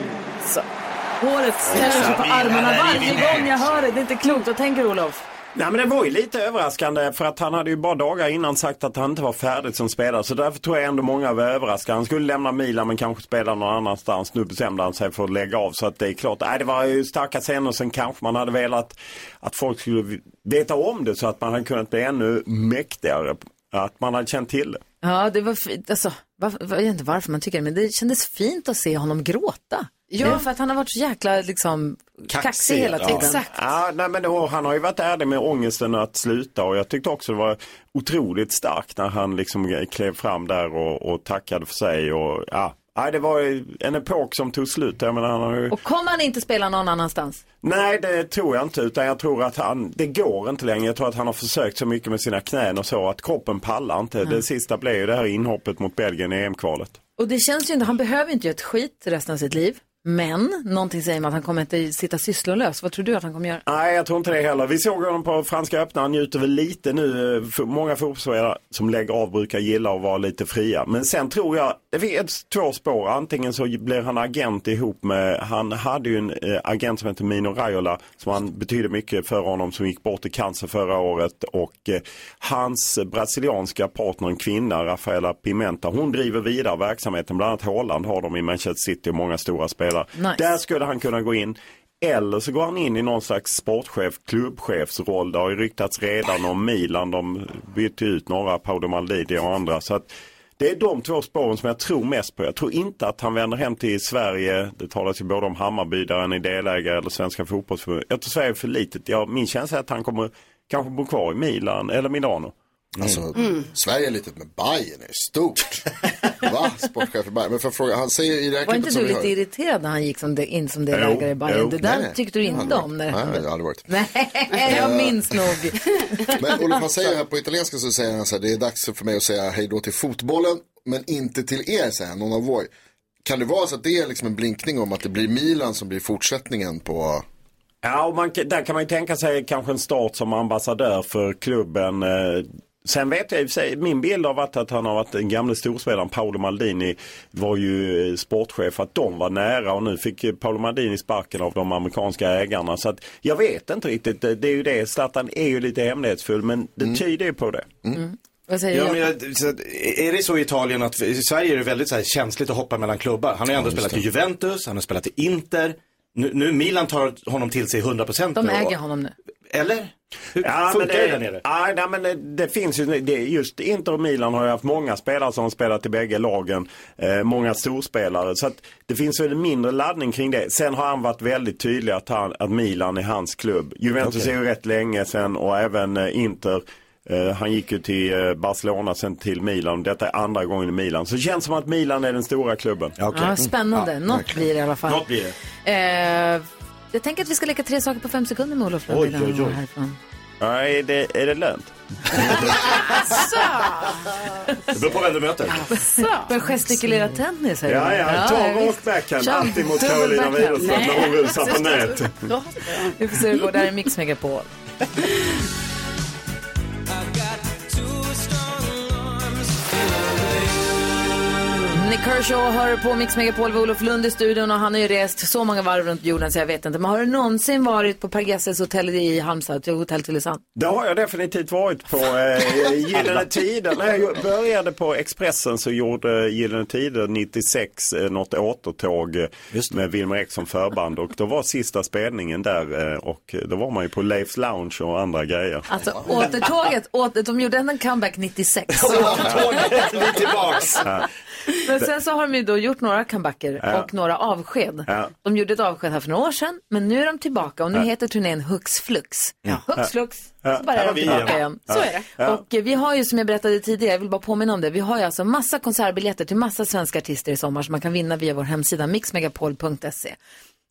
Speaker 2: Håret ställer sig på armarna varje gång jag hör det. Det är inte klokt. Vad tänker Olof?
Speaker 12: Nej men det var ju lite överraskande för att han hade ju bara dagar innan sagt att han inte var färdig som spelare. Så därför tror jag ändå många var överraskade. Han skulle lämna Milan men kanske spela någon annanstans. Nu bestämde han sig för att lägga av. Så att det är klart, nej, det var ju starka scener. Sen kanske man hade velat att folk skulle veta om det så att man hade kunnat bli ännu mäktigare. Att man hade känt till det.
Speaker 2: Ja, det var fint. Alltså, varför, jag vet inte varför man tycker det, men det kändes fint att se honom gråta.
Speaker 12: Ja.
Speaker 2: Ja. Det är för att han har varit så jäkla liksom, kaxig, hela tiden.
Speaker 12: Ja. Ja, nej, men då, han har ju varit ärlig med ångesten att sluta och jag tyckte också det var otroligt starkt när han liksom klev fram där och, och tackade för sig. Och, ja. Nej, det var ju en epok som tog slut. Jag menar, han har ju...
Speaker 2: Och kommer han inte spela någon annanstans?
Speaker 12: Nej, det tror jag inte. Utan jag tror att han, det går inte längre. Jag tror att han har försökt så mycket med sina knän och så att kroppen pallar inte. Det sista blev ju det här inhoppet mot Belgien i EM-kvalet.
Speaker 2: Och det känns ju inte, han behöver ju inte göra ett skit resten av sitt liv. Men någonting säger mig att han kommer inte sitta sysslolös. Vad tror du att han kommer göra?
Speaker 12: Nej, jag tror inte det heller. Vi såg honom på Franska öppna. Han njuter väl lite nu. Eh, för- Många fotbollsspelare som lägger av brukar gilla att vara lite fria. Men sen tror jag, det finns två spår. Antingen så blir han agent ihop med, han hade ju en eh, agent som hette Mino Raiola som han betydde mycket för honom som gick bort i cancer förra året. Och eh, hans brasilianska partner, en kvinna, Rafaela Pimenta, hon driver vidare verksamheten. Bland annat Haaland har de i Manchester City och många stora spelare.
Speaker 13: Nice.
Speaker 12: Där skulle han kunna gå in. Eller så går han in i någon slags sportchef, klubbchefsroll. Det har ju ryktats redan om Milan. De bytte ut några, Paolo Maldini och andra. Så att det är de två spåren som jag tror mest på. Jag tror inte att han vänder hem till Sverige. Det talas ju både om Hammarby där han är delägare eller Svenska fotbollsförbundet. Jag tror Sverige är för litet. Jag, min känsla är att han kommer kanske bo kvar i Milan eller Milano.
Speaker 7: Alltså, Sverige är litet men Bayern är stort. Va? Sportchef i Bayern. Men för att fråga, han säger i det här
Speaker 2: Var
Speaker 7: klippet
Speaker 2: inte
Speaker 7: som
Speaker 2: du
Speaker 7: vi
Speaker 2: lite
Speaker 7: hör-
Speaker 2: irriterad när han gick som det, in som delägare i Bayern?
Speaker 7: Jo,
Speaker 2: Det
Speaker 7: jo.
Speaker 2: där
Speaker 7: Nej, nej.
Speaker 2: tyckte du inte om när det
Speaker 7: Nej, det
Speaker 2: hände.
Speaker 7: hade varit.
Speaker 2: Nej, jag minns nog.
Speaker 7: Men Olof, han säger här på italienska så säger han så här, det är dags för mig att säga hej då till fotbollen, men inte till er, säger han, någon av vår. Kan det vara så att det är liksom en blinkning om att det blir Milan som blir fortsättningen på...
Speaker 12: Ja, och man, där kan man ju tänka sig kanske en start som ambassadör för klubben. Eh, Sen vet jag i och för sig, min bild har varit att han har varit den gamle storspelaren Paolo Maldini var ju eh, sportchef, att de var nära och nu fick eh, Paolo Maldini sparken av de amerikanska ägarna. Så att jag vet inte riktigt, det det är ju det, Zlatan är ju lite hemlighetsfull men
Speaker 3: Mm.
Speaker 12: det tyder ju på det.
Speaker 2: Vad
Speaker 3: Ja,
Speaker 2: säger
Speaker 3: men
Speaker 2: du?
Speaker 3: jag, så att, är det så i Italien att, i Sverige är det väldigt så här, känsligt att hoppa mellan klubbar. Han har ju ändå
Speaker 12: Ja, just
Speaker 3: spelat i
Speaker 12: det.
Speaker 3: Juventus, han har spelat i Inter. Nu, nu Milan tar honom till sig 100%
Speaker 2: De
Speaker 3: nu.
Speaker 2: äger honom nu.
Speaker 3: Eller? Hur
Speaker 12: Ja, men
Speaker 3: funkar det där nere?
Speaker 12: Ja, nej, men det, det finns ju, det, är just Inter och Milan har ju haft många spelare som har spelat i bägge lagen. Eh, många storspelare. Så att det finns väl en mindre laddning kring det. Sen har han varit väldigt tydlig att, han, att Milan är hans klubb. Juventus
Speaker 13: Okej.
Speaker 12: är ju rätt länge sen och även eh, Inter. Eh, han gick ju till eh, Barcelona sen till Milan. Detta är andra gången i Milan. Så det känns som att Milan är den stora klubben.
Speaker 2: Ja, spännande. Något blir det i alla fall.
Speaker 12: Något blir det.
Speaker 2: Eh, jag tänker att vi ska leka tre saker på fem sekunder med Olof Lundgren. när han går härifrån.
Speaker 12: Ja, är, det, är det lönt?
Speaker 2: Alltså!
Speaker 3: Det beror på vem du möter.
Speaker 2: Börjar gestikulera tennis här.
Speaker 12: Ja, ja, ta
Speaker 2: visst.
Speaker 12: rockbackhand
Speaker 2: Kör.
Speaker 12: alltid mot
Speaker 2: Dubbel
Speaker 12: Carolina
Speaker 2: backhand.
Speaker 12: Widerström
Speaker 2: Nej.
Speaker 12: när hon rusar på nät.
Speaker 2: Vi får se hur det går. Där är Mix Megapol. Nick Kershaw hör på Mix Megapol med Olof Lund i studion och han har ju rest så många varv runt jorden så jag vet inte. Men har du någonsin varit på Per Gessles hotell i Halmstad, till Hotell Tylösand?
Speaker 12: Det har jag definitivt varit på eh, Gyllene Tider. När jag började på Expressen så gjorde Gyllene Tider 96 eh, något återtåg eh, med Wilmer Ek som förband och då var sista spelningen där eh, och då var man ju på Leifs Lounge och andra grejer.
Speaker 2: Alltså återtåget, åter, de gjorde en comeback 96.
Speaker 12: Ja.
Speaker 2: Men sen så har de ju då gjort några comebacker
Speaker 12: Ja.
Speaker 2: och några avsked.
Speaker 12: Ja.
Speaker 2: De gjorde ett avsked här för några år sedan, men nu är de tillbaka och nu
Speaker 12: Ja.
Speaker 2: heter turnén Hux Flux.
Speaker 12: Ja.
Speaker 2: Hux Flux,
Speaker 12: Ja.
Speaker 2: så bara
Speaker 12: Här
Speaker 2: är
Speaker 12: var
Speaker 2: de
Speaker 12: vi
Speaker 2: tillbaka
Speaker 12: igen.
Speaker 2: igen.
Speaker 12: Ja. Så är det. Ja.
Speaker 2: Och eh, vi har ju, som jag berättade tidigare, jag vill bara påminna om det, vi har ju alltså massa konsertbiljetter till massa svenska artister i sommar som man kan vinna via vår hemsida mixmegapol.se.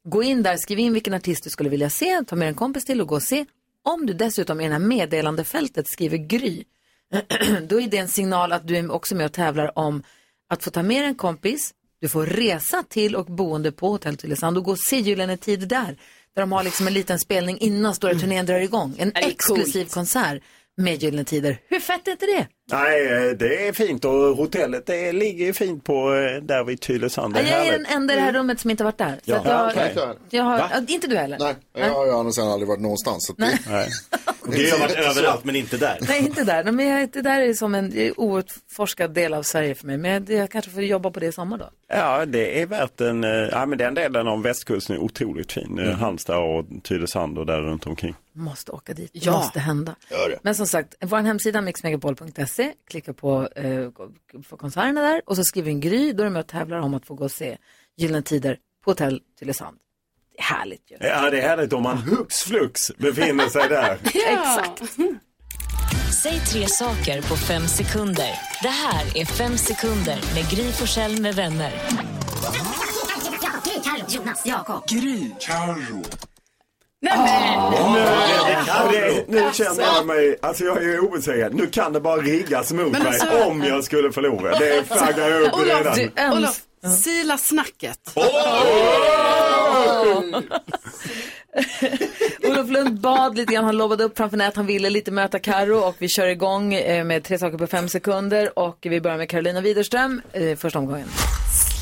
Speaker 2: Gå in där, skriv in vilken artist du skulle vilja se, ta med en kompis till och gå och se. Om du dessutom i det här meddelandefältet skriver Gry, då är det en signal att du är också med och tävlar om att få ta med en kompis, du får resa till och boende på Hotell Tylösand och gå och se Gyllene Tid där. Där de har liksom en liten spelning innan stora turnén drar igång. En exklusiv konsert med Gyllene Tider. Hur fett är inte det?
Speaker 12: Nej, eh, det är fint och hotellet det ligger ju fint på eh, där vid Tylösand. Det är
Speaker 2: jag är den
Speaker 12: härligt. Mm.
Speaker 2: enda i det här rummet som inte varit där. Så
Speaker 12: Ja,
Speaker 2: att jag,
Speaker 12: okej.
Speaker 2: jag har,
Speaker 12: Va?
Speaker 2: ja, inte du heller?
Speaker 7: Nej, jag har ju annars varit någonstans. Så att det...
Speaker 12: Nej.
Speaker 3: Det har varit överallt men inte där.
Speaker 2: Nej, inte där. Nej, men jag, det där är som en det är outforskad del av Sverige för mig. Men jag, jag kanske får jobba på det i sommar då.
Speaker 12: Ja, det är värt en, eh, ja men den delen av västkusten är otroligt fin. Mm. Halmstad och Tylösand och där runt omkring.
Speaker 2: Måste åka dit.
Speaker 12: Ja.
Speaker 2: Ja. Måste hända.
Speaker 12: Gör det.
Speaker 2: Men som sagt, vår hemsida mixmegapol.se, klicka på eh, på konserterna där och så skriver en Gry, då är de med och tävlar om att få gå och se Gyllene Tider på hotell Tylösand. Det är härligt ju.
Speaker 12: Ja, det är härligt om man hux flux befinner sig där.
Speaker 2: Exakt.
Speaker 13: Säg tre saker på fem sekunder. Det här är Fem sekunder med Gry Forssell med vänner.
Speaker 11: Gry, Carro, Jonas, Jakob.
Speaker 13: Gry. Carro.
Speaker 6: Nej, men.
Speaker 12: Nu,
Speaker 6: Åh.
Speaker 12: och det, nu känner
Speaker 6: Alltså.
Speaker 12: jag mig, alltså jag är obesegrad. Nu kan det bara riggas mot
Speaker 15: Men
Speaker 12: mig
Speaker 15: alltså-
Speaker 12: om jag skulle förlora. Det flaggar jag upp
Speaker 15: Olof,
Speaker 12: redan.
Speaker 15: du, Olof, sila snacket.
Speaker 2: Olof Lund bad lite grann, han lovade upp framför nät, han ville lite möta Karo och vi kör igång eh, med tre saker på fem sekunder och vi börjar med Carolina Widerström, eh, första omgången.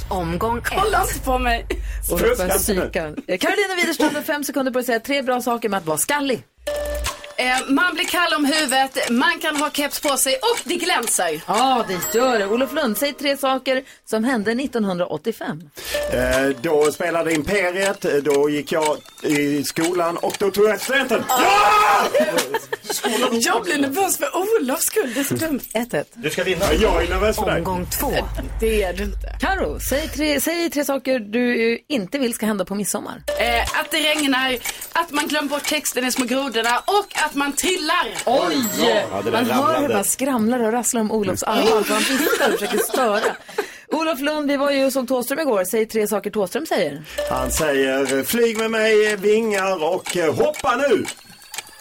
Speaker 6: Omgång ett. Kolla inte på mig.
Speaker 2: Olof börjar psyka. Eh, Carolina Widerström med fem sekunder på att säga tre bra saker med att vara skallig.
Speaker 15: Eh, man blir kall om huvudet, man kan ha keps på sig och det glänser.
Speaker 2: Ja, det gör det. Olof Lund, säg tre saker som hände 1985.
Speaker 12: Eh, då spelade Imperiet, eh, då gick jag i skolan och då tog jag studenten.
Speaker 15: Ah! Jag blir nervös för Olofs skull, det är så dumt.
Speaker 2: 1-1.
Speaker 12: Du ska vinna. Jag är nervös för dig.
Speaker 2: Omgång två.
Speaker 15: Det är du inte.
Speaker 2: Karo, säg tre, säg tre saker du eh, inte vill ska hända på midsommar.
Speaker 15: Eh, att det regnar, att man glömmer bort texten i Små grodorna och att man trillar.
Speaker 2: Oj! man hör hur man skramlar och rasslar om Olofs armar för han viftar och försöker störa. Olof Lund, vi var ju och såg Thåström igår. Säg tre saker Thåström säger.
Speaker 12: Han säger eh, flyg med mig, eh, vingar och eh, hoppa nu.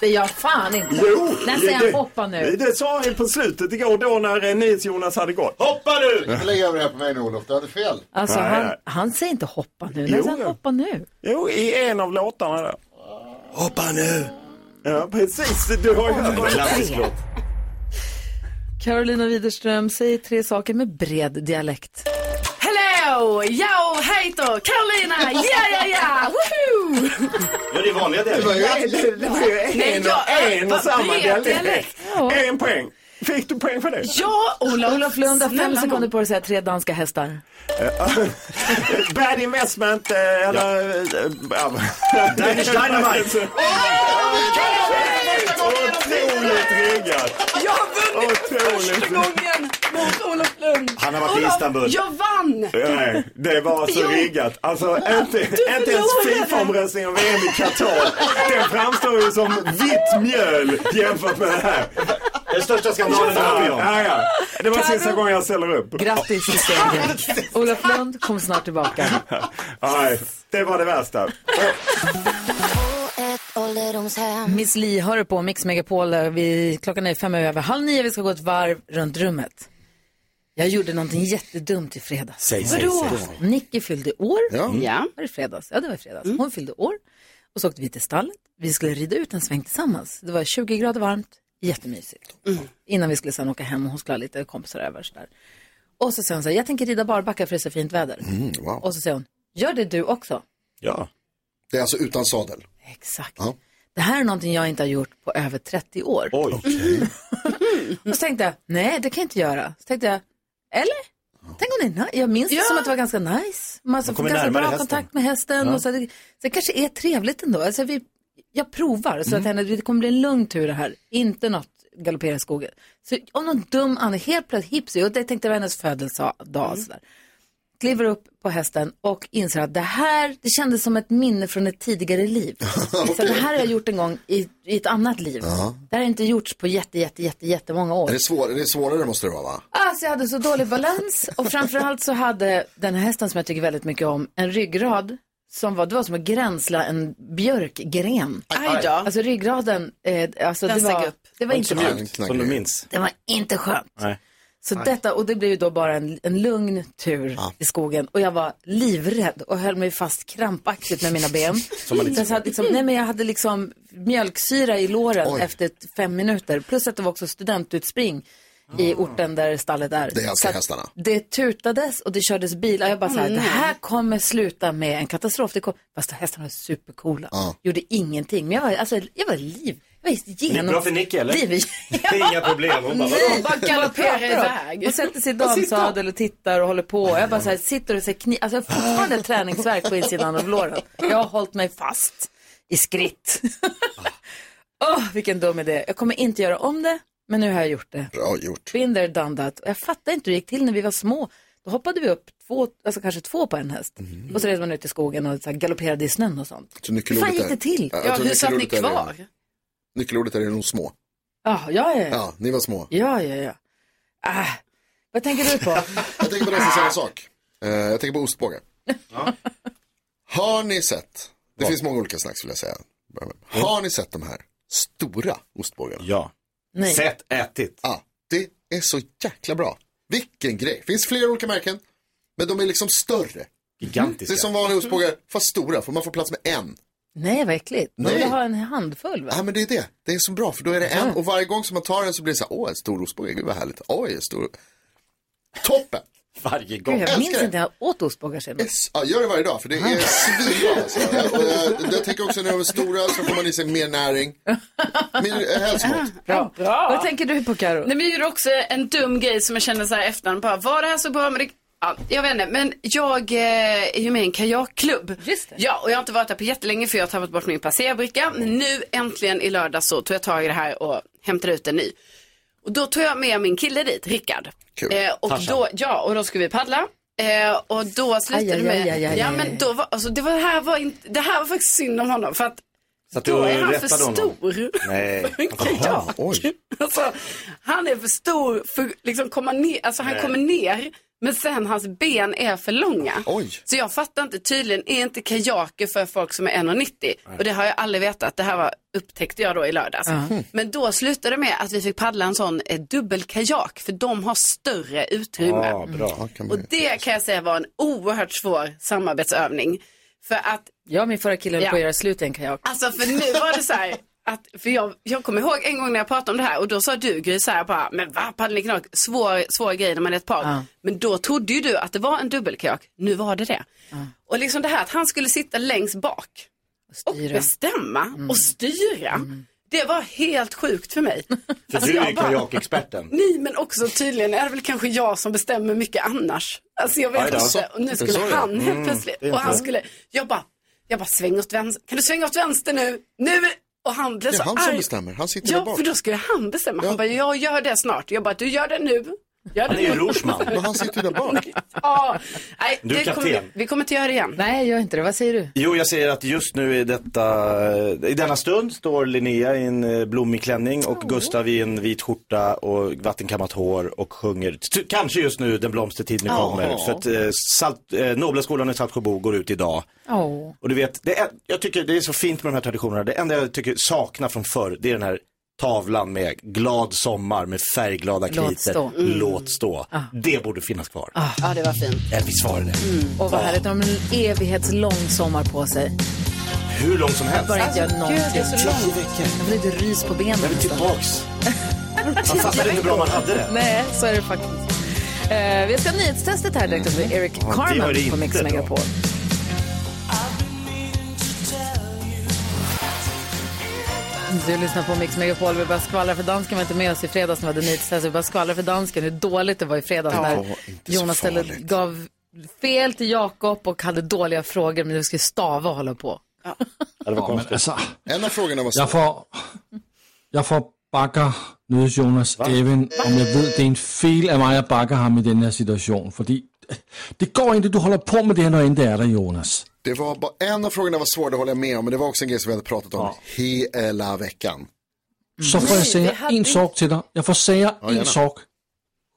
Speaker 2: Det gör fan inte.
Speaker 12: Jo!
Speaker 2: När säger
Speaker 12: det-
Speaker 2: han hoppa nu?
Speaker 12: Det sa han på slutet igår då när Nils-Jonas hade gått. Hoppa nu!
Speaker 7: Lägg över det här på mig nu Olof, du hade fel.
Speaker 2: Alltså
Speaker 12: Nej.
Speaker 2: han, han säger inte hoppa nu. När
Speaker 12: Jo,
Speaker 2: säger han
Speaker 12: ja.
Speaker 2: hoppa nu?
Speaker 12: Jo, i en av låtarna där. Hoppa nu! Ja, precis. Du har ju hört
Speaker 2: Omgång
Speaker 12: den.
Speaker 2: tre. Carolina Widerström, säg tre saker med bred dialekt.
Speaker 15: Hello! Yo, hej då! Carolina! Ja, ja, ja! Woohoo!
Speaker 3: Ja, det är vanliga
Speaker 12: Det var ju
Speaker 3: dialekter.
Speaker 12: det var ju
Speaker 15: Nej,
Speaker 12: en
Speaker 15: jag-
Speaker 12: och en och
Speaker 15: vad
Speaker 12: samma
Speaker 15: bred
Speaker 12: dialekt.
Speaker 15: dialekt.
Speaker 12: En poäng. Fick du poäng för det?
Speaker 15: Ja, Olof.
Speaker 2: Olof Lund har fem
Speaker 15: Snälla
Speaker 2: sekunder på dig att säga tre danska hästar.
Speaker 12: Bad investment eh, eller...
Speaker 4: Danish Dynamite.
Speaker 12: Otroligt riggad.
Speaker 15: Jag har vunnit för första gången mot Olof Lund.
Speaker 12: Han har varit i
Speaker 15: Olof,
Speaker 12: Istanbul.
Speaker 15: Jag vann!
Speaker 12: Nej, det var så
Speaker 15: Jo.
Speaker 12: riggat. Alltså inte, inte ens
Speaker 15: förlorade.
Speaker 12: Fifa-omröstningen om VM i Qatar. Den framstår ju som vitt mjöl jämfört med det här.
Speaker 3: Den största skandalen har vi om.
Speaker 12: Ja, ja. Det var
Speaker 2: Kan
Speaker 12: sista
Speaker 2: du-
Speaker 12: gången jag ställer upp.
Speaker 2: Grattis till segern. Olof Lund kom snart tillbaka.
Speaker 12: Nej, det var det värsta.
Speaker 2: Miss Li hör du på Mix Megapol. där Vi, klockan är fem över halv nio. Vi ska gå ett varv runt rummet. Jag gjorde någonting jättedumt i fredags.
Speaker 1: Säg, säg,
Speaker 2: Vadå?
Speaker 1: säg.
Speaker 2: Nicky fyllde år.
Speaker 1: Ja. Mm. Ja.
Speaker 2: Var det fredags? Ja, det var i fredags. Hon fyllde år. Och så åkte vi till stallet. Vi skulle rida ut en sväng tillsammans. Det var 20 grader varmt. Jättemysigt.
Speaker 1: Mm.
Speaker 2: Innan vi skulle sen åka hem och hon skulle ha lite kompisar över. så där. Och så säger hon så här, jag tänker rida barbacka för det är så fint väder.
Speaker 7: Mm, wow.
Speaker 2: Och så säger hon, gör det du också.
Speaker 7: Ja. Det är alltså utan sadel.
Speaker 2: Exakt.
Speaker 7: Ja.
Speaker 2: Det här är någonting jag inte har gjort på över 30 år.
Speaker 7: Oj.
Speaker 2: Och så tänkte jag, nej det kan jag inte göra. Så tänkte jag, eller? Tänk om det är nice. Jag minns det som att det var ganska nice. Man alltså,
Speaker 1: Man kommer
Speaker 2: ganska
Speaker 1: närmare
Speaker 2: bra
Speaker 1: hästen.
Speaker 2: kontakt med hästen.
Speaker 1: Ja.
Speaker 2: Och så, det, så det kanske är trevligt ändå. Alltså, vi, jag provar.
Speaker 1: Mm.
Speaker 2: Så att det kommer bli en lugn tur det här. Inte något galoppera i skogen. Så om någon dum anledning, helt plötsligt hipsy. Och det tänkte jag var hennes födelsedag. och Så där. Kliver upp på hästen och inser att det här, det kändes som ett minne från ett tidigare liv. Så det här har jag gjort en gång i, i ett annat liv.
Speaker 7: Ja.
Speaker 2: Det här har inte gjorts på jätte, jätte, jätte, jättemånga år.
Speaker 7: Är det, svår, det är svårare måste det vara va?
Speaker 2: Alltså jag hade så dålig balans och framförallt så hade den här hästen som jag tycker väldigt mycket om en ryggrad som var, det var som att gränsla en björkgren.
Speaker 15: Aj då.
Speaker 2: Alltså ryggraden, eh, alltså
Speaker 15: Den
Speaker 2: det var,
Speaker 15: steg upp.
Speaker 2: det var inte skönt.
Speaker 3: Som du minns.
Speaker 2: Det var inte skönt.
Speaker 3: Nej.
Speaker 2: Så
Speaker 3: Aj.
Speaker 2: detta, och det blev ju då bara en, en lugn tur i skogen. Och jag var livrädd och höll mig fast krampaktigt med mina ben.
Speaker 1: Som man inte
Speaker 2: jag, hade liksom, nej men jag hade liksom mjölksyra i låren efter t- fem minuter. Plus att det var också studentutspring i orten där stallet är.
Speaker 7: Det
Speaker 2: Så
Speaker 7: älskar
Speaker 2: att
Speaker 7: hästarna.
Speaker 2: Det tutades och det kördes bilar. Jag bara så här,
Speaker 7: Mm.
Speaker 2: det här kommer sluta med en katastrof. Det kom... Fast hästarna var supercoola. Gjorde ingenting. Men jag var, alltså, jag var liv. Visst, genom...
Speaker 3: Det är bra för Nicky, eller?
Speaker 2: Det är vi.
Speaker 3: Inga problem. Hon bara,
Speaker 2: Nej,
Speaker 3: vadå?
Speaker 2: bara galopperar iväg. Och sätter sig i damsadel och tittar och håller på. Och Jag bara så här, sitter och så här, kni... alltså, jag har fortfarande träningsvärk på insidan av låren. Jag har hållit mig fast i skritt. Åh, vilken dum idé. Jag kommer inte göra om det, men nu har jag gjort det.
Speaker 7: Bra gjort.
Speaker 2: Been there, done that. Och Jag fattar inte hur det gick till när vi var små. Då hoppade vi upp två, alltså kanske två på en häst. Och så red man ut i skogen och så här, galopperade i snön och sånt.
Speaker 7: Så
Speaker 2: Hur
Speaker 7: nyckelordet
Speaker 2: fan gick
Speaker 7: är-
Speaker 2: det till?
Speaker 7: jag tror nyckelordet är- Nyckelordet är nog små.
Speaker 2: Ja, ja, ja.
Speaker 7: Ja, ni var små.
Speaker 2: Ja, ja, ja. Ah, vad tänker du på?
Speaker 7: Jag tänker på nästan samma sak. Eh, jag tänker på ostbågar. Har ni sett, det finns många olika snacks vill jag säga. Börja med. Har ni sett de här stora ostbågarna?
Speaker 3: Ja.
Speaker 2: Nej.
Speaker 3: Sett, ätit.
Speaker 7: Ja, det är så jäkla bra. Vilken grej. Finns flera olika märken, men de är liksom större.
Speaker 3: Gigantiska.
Speaker 7: Det är som vanliga ostbågar, fast stora, för man får plats med en.
Speaker 2: Nej, vad äckligt. Man
Speaker 7: Nej.
Speaker 2: vill ha en handfull, va?
Speaker 7: Ja, men det är det. Det är så bra, för då är det en. Och varje gång som man tar den så blir det så här, åh, en stor ostbåge, gud vad härligt. Oj, en stor. Toppen!
Speaker 3: Varje gång.
Speaker 2: Gud, jag minns inte, jag åt ostbågar senast.
Speaker 7: Ja, gör det varje dag, för det är svinbra. Alltså. Och jag, jag tänker också när de är stora så får man i sig mer näring. Mer eh, hälsomat.
Speaker 2: Bra. Vad tänker du på, Karo?
Speaker 6: Nej, men jag gjorde också en dum grej som jag kände så här efterhand bara, var det här så bra? Men det, ja, jag vet inte, men jag eh, är ju med i en kajakklubb. Just Ja, och jag har inte varit där på jättelänge för jag har tappat bort min passerbricka. Men nu äntligen i lördag så tog jag tag i det här och hämtade ut en ny. Och då tog jag med min kille dit, Rickard.
Speaker 7: Kul.
Speaker 6: Eh, och
Speaker 7: Tarzan.
Speaker 6: då, ja, och då skulle vi paddla. Eh, och då slutade det
Speaker 2: aj,
Speaker 6: med,
Speaker 2: aj, aj, aj,
Speaker 6: ja
Speaker 2: aj,
Speaker 6: men
Speaker 2: aj.
Speaker 6: då var, alltså det var, det här var inte, det här var faktiskt synd om honom för att
Speaker 3: Så att
Speaker 6: då
Speaker 3: du
Speaker 6: är han för
Speaker 3: rättade honom.
Speaker 6: stor.
Speaker 3: Nej.
Speaker 6: Ja. Alltså, han är för stor för liksom komma ner, alltså han
Speaker 3: Nej.
Speaker 6: kommer ner men sen hans ben är för långa.
Speaker 7: Oj.
Speaker 6: Så jag fattar inte, tydligen är inte kajaker för folk som är 1,90 och det har jag aldrig vetat, det här var, upptäckte jag då i lördags.
Speaker 2: Mhm.
Speaker 6: Men då slutade det med att vi fick paddla en sån eh, dubbelkajak för de har större utrymme.
Speaker 7: Ja, Ah, bra. Ja, kan man-
Speaker 6: Och det kan jag säga var en oerhört svår samarbetsövning. För att
Speaker 2: Jag och min förra kille höll
Speaker 6: Ja.
Speaker 2: på att göra slut i en kajak.
Speaker 6: Alltså för nu var det så här. Att, för jag, jag kommer ihåg en gång när jag pratade om det här och då sa du Gry så här bara, men va, paddelkajak, svår, svår grej när man är ett par.
Speaker 2: Ja.
Speaker 6: Men då trodde ju du att det var en dubbelkajak, nu var det det. Och liksom det här att han skulle sitta längst bak och bestämma och styra. Det var helt sjukt för mig.
Speaker 3: För
Speaker 6: Alltså,
Speaker 3: du
Speaker 6: jag
Speaker 3: är
Speaker 6: bara-
Speaker 3: kajakexperten.
Speaker 6: Nej men också tydligen är det väl kanske jag som bestämmer mycket annars. Alltså jag
Speaker 3: Aj
Speaker 6: vet
Speaker 3: då.
Speaker 6: inte. Och nu
Speaker 3: Det
Speaker 6: skulle
Speaker 3: sa jag.
Speaker 6: han helt
Speaker 3: Mm, det
Speaker 6: plötsligt.
Speaker 3: är
Speaker 6: Och han
Speaker 3: inte-
Speaker 6: skulle, jag bara, jag bara sväng åt vänster. Kan du svänga åt vänster nu? Nu! Och han blev
Speaker 7: Det
Speaker 6: så
Speaker 7: är han
Speaker 6: arg.
Speaker 7: som bestämmer, han sitter där
Speaker 6: Ja
Speaker 7: bak.
Speaker 6: för då skulle han bestämma. Han bara, jag gör det snart. Jag bara, du gör det nu. Gör
Speaker 7: Han
Speaker 6: det
Speaker 7: är ju
Speaker 6: nu.
Speaker 7: rorsman. Men han sitter ju där bak.
Speaker 6: ja, nej,
Speaker 3: Du är
Speaker 6: det kommer,
Speaker 3: kapten.
Speaker 6: vi kommer inte göra det igen.
Speaker 2: Nej, gör inte det. Vad säger du?
Speaker 3: Jo, jag säger att just nu i, detta, i denna stund står Linnea i en eh, blommig klänning och Gustav i en vit skjorta och vattenkammat hår och sjunger t- kanske just nu Den blomstertid nu
Speaker 2: Ja.
Speaker 3: kommer. För att eh, salt, eh, Noblaskolan i Saltsjöbo går ut idag.
Speaker 2: Åh.
Speaker 3: Och du vet, det är, jag tycker det är så fint med de här traditionerna. Det enda jag tycker saknar från förr, det är den här tavlan med glad sommar med färgglada
Speaker 2: Låt
Speaker 3: kriter.
Speaker 2: stå. Ah. Mm.
Speaker 3: Låt stå. Det borde finnas kvar.
Speaker 6: Ja, det var fint. Mm.
Speaker 3: Äh, visst var det det?
Speaker 2: Och vad härligt, de har en evighetslång sommar på sig.
Speaker 3: Hur långt som helst.
Speaker 2: Bara inte
Speaker 6: Alltså,
Speaker 2: gör någonting. Jag vill lite rys på benen.
Speaker 3: Jag vill
Speaker 2: nästan.
Speaker 3: tillbaks. Man fattade inte hur bra man hade det.
Speaker 2: Nej, så är det faktiskt. Eh, vi ska ha nyhetstestet här direkt med Eric
Speaker 3: Mm. Ja, det var det
Speaker 2: Carmen
Speaker 3: inte
Speaker 2: på Mix
Speaker 3: då.
Speaker 2: Megapol. Du lyssnar på Mix Megapol. Vi bara skvallrar för dansken var inte med oss i fredags när vi hade nyhetstest. Vi bara skvallrar för dansken hur dåligt det var i fredags
Speaker 1: Ja,
Speaker 2: när
Speaker 1: inte så
Speaker 2: Jonas ställde,
Speaker 1: farligt.
Speaker 2: gav fel till Jakob och hade dåliga frågor men du skulle stava och hålla på.
Speaker 9: Ja, men altså,
Speaker 7: En av frågorna var så.
Speaker 9: jeg får, jeg får bakker nødes Jonas Even, om jeg ved, det er en fejl af mig, at bakker ham i den her situation, fordi øh, det går ikke, du holder på med det her, når ikke er der, Jonas.
Speaker 7: Det var bara, en av frågorna var svår, det håller jag med om, men det var också en grej som vi hade pratat om hela veckan.
Speaker 9: Så får jeg sige en sorg til dig. Jeg får sige
Speaker 7: Ja,
Speaker 9: en
Speaker 7: gärna.
Speaker 9: sorg.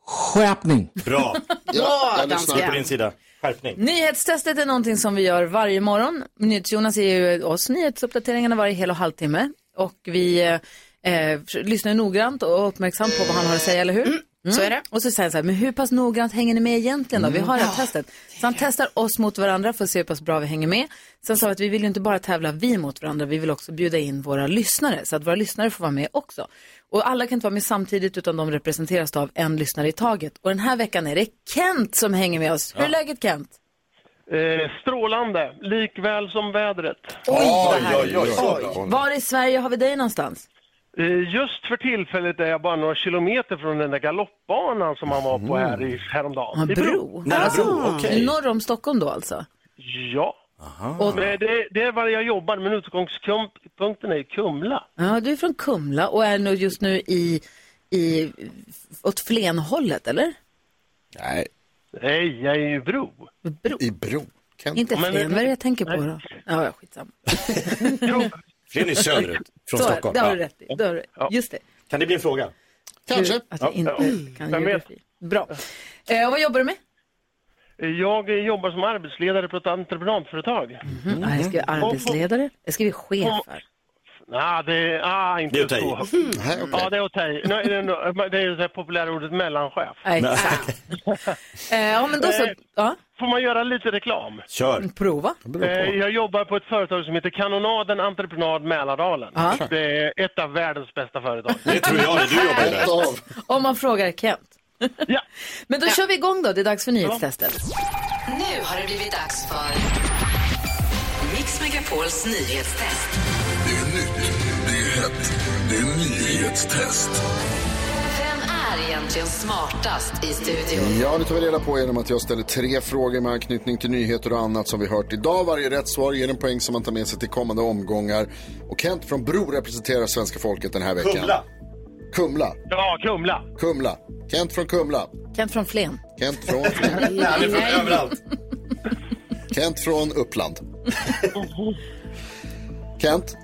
Speaker 9: Skærpning.
Speaker 3: Bra.
Speaker 2: Ja, jag lyssnar.
Speaker 3: på din sida. Skärpning.
Speaker 2: Nyhetstestet är någonting som vi gör varje morgon. NyhetsJonas ger ju oss nyhetsuppdateringarna varje hel och halvtimme. Och vi eh, eh, lyssnar noggrant och är uppmärksam på vad han har att säga, eller hur?
Speaker 6: Mm,
Speaker 2: Mm.
Speaker 6: så är det.
Speaker 2: Och så säger han så här, men hur pass noggrant hänger ni med egentligen då? Vi har det här
Speaker 6: Ja.
Speaker 2: testet. Så han testar oss mot varandra för att se hur pass bra vi hänger med. Sen sa vi att vi vill ju inte bara tävla vi mot varandra, vi vill också bjuda in våra lyssnare. Så att våra lyssnare får vara med också. Och alla kan inte vara med samtidigt utan de representeras då av en lyssnare i taget. Och den här veckan är det Kent som hänger med oss. Hur är
Speaker 16: Ja.
Speaker 2: läget Kent?
Speaker 16: Eh, strålande, likväl som vädret.
Speaker 2: Oj,
Speaker 16: vad
Speaker 2: Var i Sverige har vi dig någonstans?
Speaker 16: Eh, Just för tillfället är jag bara några kilometer från den där galoppbanan som han var på här i, häromdagen.
Speaker 2: Mm. Ja,
Speaker 16: I
Speaker 2: bro. Norr om Stockholm då alltså?
Speaker 16: Ja. Och det, det, det är var jag jobbar, men utgångspunkten är Kumla.
Speaker 2: Ja, du är från Kumla och är nu just nu i, i åt Flenhållet, eller?
Speaker 7: Nej.
Speaker 16: Nej, jag är i Bro.
Speaker 7: I Bro?
Speaker 2: Inte Flen, vad är det jag tänker på då? Ja, ja, skitsamma.
Speaker 3: Flen är söderut från
Speaker 2: Så är det.
Speaker 3: Stockholm.
Speaker 2: Det har du
Speaker 3: Ja.
Speaker 2: rätt i. Det har du- Just det.
Speaker 3: Kan det bli en fråga?
Speaker 2: Kanske. Att jag inte kan
Speaker 16: Vem vet?
Speaker 2: geografi. Bra. Eh, och vad jobbar du med?
Speaker 16: Jag eh, jobbar som arbetsledare på ett entreprenadföretag. Mm.
Speaker 2: Nej, Mhm. jag ska vara arbetsledare. Jag ska bli chef här.
Speaker 16: Nej, det är ah, inte
Speaker 2: Det är åt dig.
Speaker 16: så högt. Ja, det är åt dig. Nej, det är nog- men det är ju det här populära ordet mellanchef.
Speaker 2: Nej, exakt. Eh, ja, men då så.
Speaker 16: Eh,
Speaker 2: Ja,
Speaker 16: Får man göra lite reklam?
Speaker 3: Kör.
Speaker 2: prova.
Speaker 16: Eh, Jag jobbar på ett företag som heter Kanonaden Entreprenad Mälardalen.
Speaker 2: Ja.
Speaker 16: Det är ett av världens bästa företag.
Speaker 3: Det tror jag det, du jobbar
Speaker 7: där.
Speaker 2: Om man frågar Kent. Men då kör vi igång då. Det är dags för nyhetstestet.
Speaker 1: Nu har det blivit dags för Mix Megapols nyhetstest.
Speaker 4: Det är nytt, det är hett, det är nyhetstest.
Speaker 1: Vem är egentligen smartast i studion?
Speaker 7: Ja, det tar vi reda på genom att jag ställer tre frågor med anknytning till nyheter och annat som vi hört idag. Varje rätt svar ger en poäng som man tar med sig till kommande omgångar. Och Kent från Bro representerar svenska folket den här veckan.
Speaker 2: Kumla.
Speaker 7: Kumla.
Speaker 16: Ja, Kumla.
Speaker 7: Kumla. Kent från Kumla.
Speaker 2: Kent från Flen.
Speaker 7: Kent från...
Speaker 2: Han är från Nej.
Speaker 3: överallt.
Speaker 7: Kent från Uppland. Kent?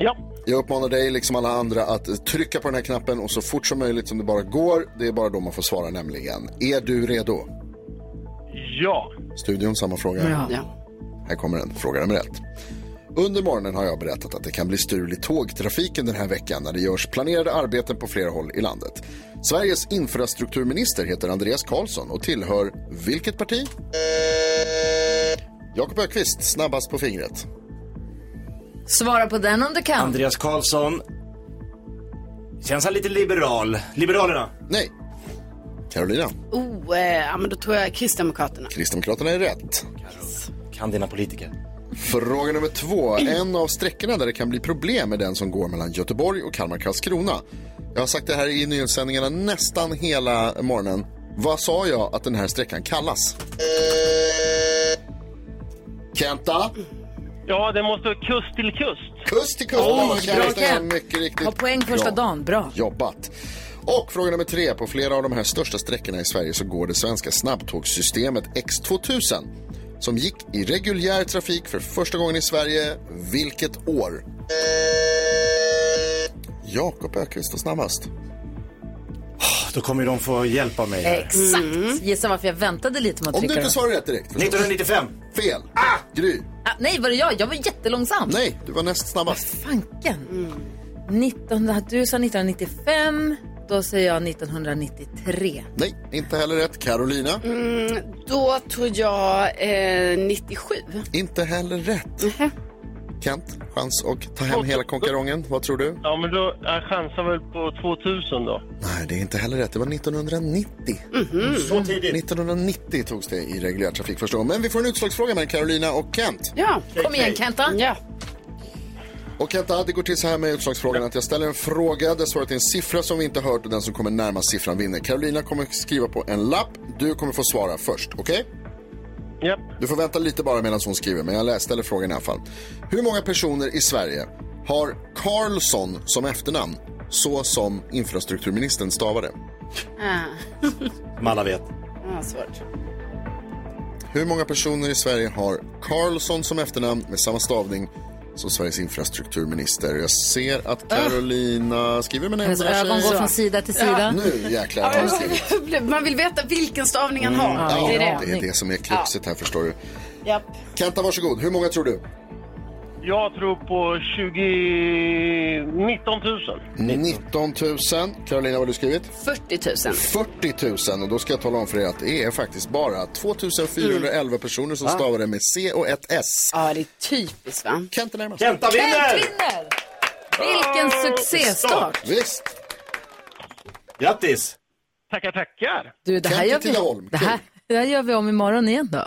Speaker 16: Ja.
Speaker 7: Jag uppmanar dig, liksom alla andra, att trycka på den här knappen och så fort som möjligt som det bara går. Det är bara då man får svara nämligen. Är du redo?
Speaker 16: Ja.
Speaker 7: Studion, samma fråga. Här kommer den, fråga nummer ett. Under morgonen har jag berättat att det kan bli strul i tågtrafiken den här veckan när det görs planerade arbeten på flera håll i landet. Sveriges infrastrukturminister heter Andreas Karlsson och tillhör vilket parti? Jakob Ökvist, snabbast på fingret.
Speaker 2: Svara på den om du kan.
Speaker 3: Andreas Karlsson. Känns han lite liberal? Liberalerna?
Speaker 7: Nej. Carolina,
Speaker 6: Oh, eh, ja, men då tror jag Kristdemokraterna.
Speaker 7: Kristdemokraterna är rätt.
Speaker 3: Kan dina politiker.
Speaker 7: Fråga nummer två. En av sträckorna där det kan bli problem är den som går mellan Göteborg och Kalmar-Karlskrona. Jag har sagt det här i nyhetssändningarna nästan hela morgonen. Vad sa jag att den här sträckan kallas? Kenta?
Speaker 16: Ja, det måste kust till kust.
Speaker 7: Kust till kust.
Speaker 16: Åh,
Speaker 7: Bra,
Speaker 16: bra,
Speaker 7: Kent.
Speaker 16: Kent.
Speaker 7: Mycket riktigt.
Speaker 2: Ha poäng första
Speaker 7: bra
Speaker 2: dagen. Bra.
Speaker 7: jobbat. Och fråga nummer tre. På flera av de här största sträckorna i Sverige så går det svenska snabbtågssystemet X2000 som gick i reguljär trafik för första gången i Sverige. Vilket år? Jakob Öqvist var snabbast.
Speaker 3: Då kommer ju de få hjälp av mig. här.
Speaker 2: Exakt.
Speaker 16: Mm.
Speaker 2: Gissa varför jag väntade lite med att
Speaker 3: Om du
Speaker 2: trycka
Speaker 3: inte
Speaker 2: den.
Speaker 3: svarar
Speaker 7: rätt direkt.
Speaker 3: 1995.
Speaker 7: Fel. Ah! Gry.
Speaker 2: Ah, nej, var det jag? Jag var jättelångsam.
Speaker 7: Nej, du var näst snabbast.
Speaker 2: Fanken. 19, du sa 1995, då säger jag 1993.
Speaker 7: Nej, inte heller rätt. Carolina.
Speaker 6: Mm, då tror jag eh, 97.
Speaker 7: Inte heller rätt. Kent, chans att ta hem hela konkarongen. Vad tror du?
Speaker 16: Ja, men då jag chansar väl på 2000 då.
Speaker 7: Nej, det är inte heller rätt. Det var 1990.
Speaker 2: Mm.
Speaker 16: Så tidigt.
Speaker 7: 1990 togs det i reguljär trafik första gången. Men vi får en utslagsfråga mellan Carolina och Kent.
Speaker 6: Ja,
Speaker 2: Kom igen Kenta.
Speaker 6: Ja.
Speaker 7: Och Kenta, det går till så här med utslagsfrågan att jag ställer en fråga där svaret är en siffra som vi inte hört och den som kommer närmast siffran vinner. Carolina kommer skriva på en lapp. Du kommer få svara först, okej?
Speaker 16: Japp.
Speaker 7: Du får vänta lite bara medan hon skriver, men jag lä- ställer frågan i alla fall. Hur många personer i Sverige har Karlsson som efternamn, så som infrastrukturministern stavade?
Speaker 6: Ah.
Speaker 3: Som alla vet.
Speaker 6: ah, svårt.
Speaker 7: Hur många personer i Sverige har Karlsson som efternamn med samma stavning som Sveriges infrastrukturminister? Jag ser att Carolina skriver med
Speaker 2: Hennes
Speaker 7: nämnda
Speaker 2: ögon går från sida till sida.
Speaker 6: Ja.
Speaker 7: Nu jäklar
Speaker 6: Ja,
Speaker 7: har hon
Speaker 6: jag-
Speaker 7: skrivit.
Speaker 6: Man vill veta vilken stavning
Speaker 17: Mm.
Speaker 6: han har.
Speaker 7: Ja,
Speaker 6: det är
Speaker 7: det
Speaker 6: det.
Speaker 7: är det som är kruxet här förstår du.
Speaker 6: Japp.
Speaker 7: Kenta, varsågod. Hur många tror du?
Speaker 16: Jag tror på 20... 19 000.
Speaker 7: 19 000. Carolina, vad har du skrivit?
Speaker 6: 40 000.
Speaker 7: 40 000. Och då ska jag tala om för er att det är faktiskt bara 2 411 personer som
Speaker 6: Va?
Speaker 7: stavar det med C och ett S.
Speaker 6: Ja, det är typiskt va?
Speaker 7: Kenta närmast.
Speaker 3: Kenta vinner!
Speaker 2: vinner! Vilken succéstart!
Speaker 7: Visst.
Speaker 3: Grattis!
Speaker 16: Tackar, tackar.
Speaker 2: Du, det här, gör vi, det, här, det här gör vi om imorgon igen då.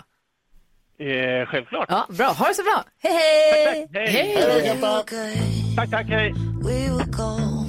Speaker 16: Eh, självklart.
Speaker 2: Ja, bra. Ha det så bra. Hej, hej!
Speaker 16: Hej. Hej, Kenta. Tack, tack, hej.
Speaker 11: We were gold.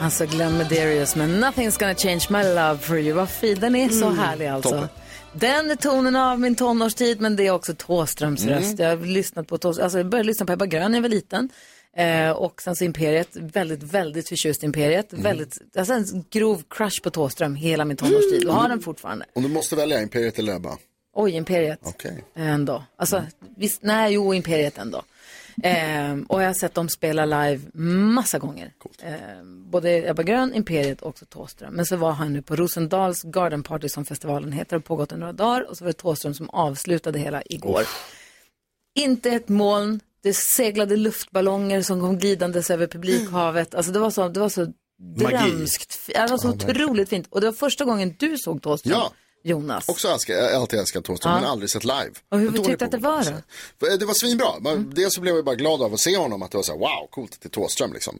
Speaker 2: Alltså Glenn Medeiros med Nothing's gonna change my love for you. Vad fin, den är så
Speaker 8: Mm,
Speaker 2: härlig alltså.
Speaker 8: toppen.
Speaker 2: Den är tonen av min tonårstid men det är också Thåströms
Speaker 8: Mm.
Speaker 2: röst. Jag har lyssnat på Thåström, alltså jag började lyssna på Ebba Grön när jag var liten. Eh, och sen så Imperiet, väldigt, väldigt förtjust i Imperiet.
Speaker 8: Mm.
Speaker 2: Väldigt, alltså en grov crush på Thåström hela min tonårstid och har den fortfarande.
Speaker 7: Om du måste välja Imperiet eller Ebba?
Speaker 2: Oj, Imperiet.
Speaker 7: Okej. Mm.
Speaker 2: Ändå. Alltså, visst, nej, jo, Imperiet ändå. Ehm, och jag har sett dem spela live massa gånger. Ehm, både Ebba Grön, Imperiet och också Thåström. Men så var han nu på Rosendals Garden Party som festivalen heter och pågått i några dagar. Och så var det Thåström som avslutade hela igår. Inte ett moln, det seglade luftballonger som kom glidandes över publikhavet. Alltså det var så, det var så drömskt. fi- Det var så
Speaker 7: Ja, verkligen.
Speaker 2: otroligt fint. Och det var första gången du såg Thåström,
Speaker 7: Ja.
Speaker 2: Jonas.
Speaker 7: Också älskar, jag har alltid älskat Thåström,
Speaker 2: Ja.
Speaker 7: men aldrig sett live.
Speaker 2: Och hur
Speaker 7: Jag är dålig
Speaker 2: tyckte du att
Speaker 7: på alltså. Eh,
Speaker 2: det var då? Mm.
Speaker 7: Det var svinbra. Man- Dels så blev jag bara glad av att se honom, att det var så här, wow, coolt att det är Thåström liksom.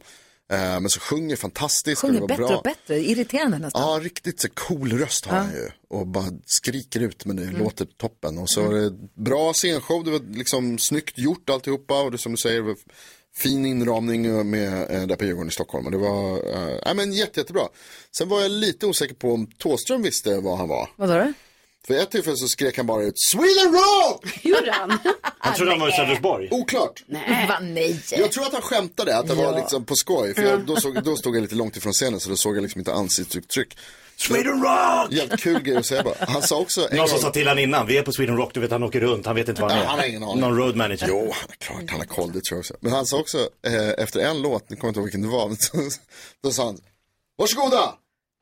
Speaker 7: Eh, Men så sjunger fantastiskt. och
Speaker 2: sjunger
Speaker 7: det var
Speaker 2: bättre
Speaker 7: bra.
Speaker 2: och bättre, irriterande nästan.
Speaker 7: Ja, riktigt så cool röst har
Speaker 2: Ja.
Speaker 7: han ju. Och bara skriker ut men det
Speaker 2: Mm.
Speaker 7: låter toppen. Och så var det bra scenshow, det var liksom snyggt gjort alltihopa. Och det som du säger, det var fin inramning och med, eh, där på Djurgården i Stockholm. Och det var, eh, nej men jätte, jättebra. Sen var jag lite osäker på om Thåström visste vad han var.
Speaker 2: Vad sa du?
Speaker 7: För ett tillfälle så skrek han bara ut Sweden Rock!
Speaker 6: Gjorde han?
Speaker 7: Han trodde han var i Sölvesborg. Oklart.
Speaker 2: Nej. Va, nej.
Speaker 7: Eh, Jag tror att han skämtade, att det var
Speaker 2: Ja.
Speaker 7: liksom på skoj. För jag, då, såg, då stod jag lite långt ifrån scenen så då såg jag liksom inte ansiktsuttryck.
Speaker 3: Sweden Rock!
Speaker 7: Jävligt kul grej att säga bara. Han sa också en
Speaker 3: Någon som
Speaker 7: gång-
Speaker 3: sa till han innan, vi är på Sweden Rock, du vet han åker runt, han vet inte vad han
Speaker 7: Nej,
Speaker 3: är.
Speaker 7: han har ingen aning.
Speaker 3: Någon road manager.
Speaker 7: Jo, han är klart han har koll, det tror jag också. Men han sa också eh, efter en låt, nu kommer jag inte ihåg vilken det var, men så- då sa han Varsågoda!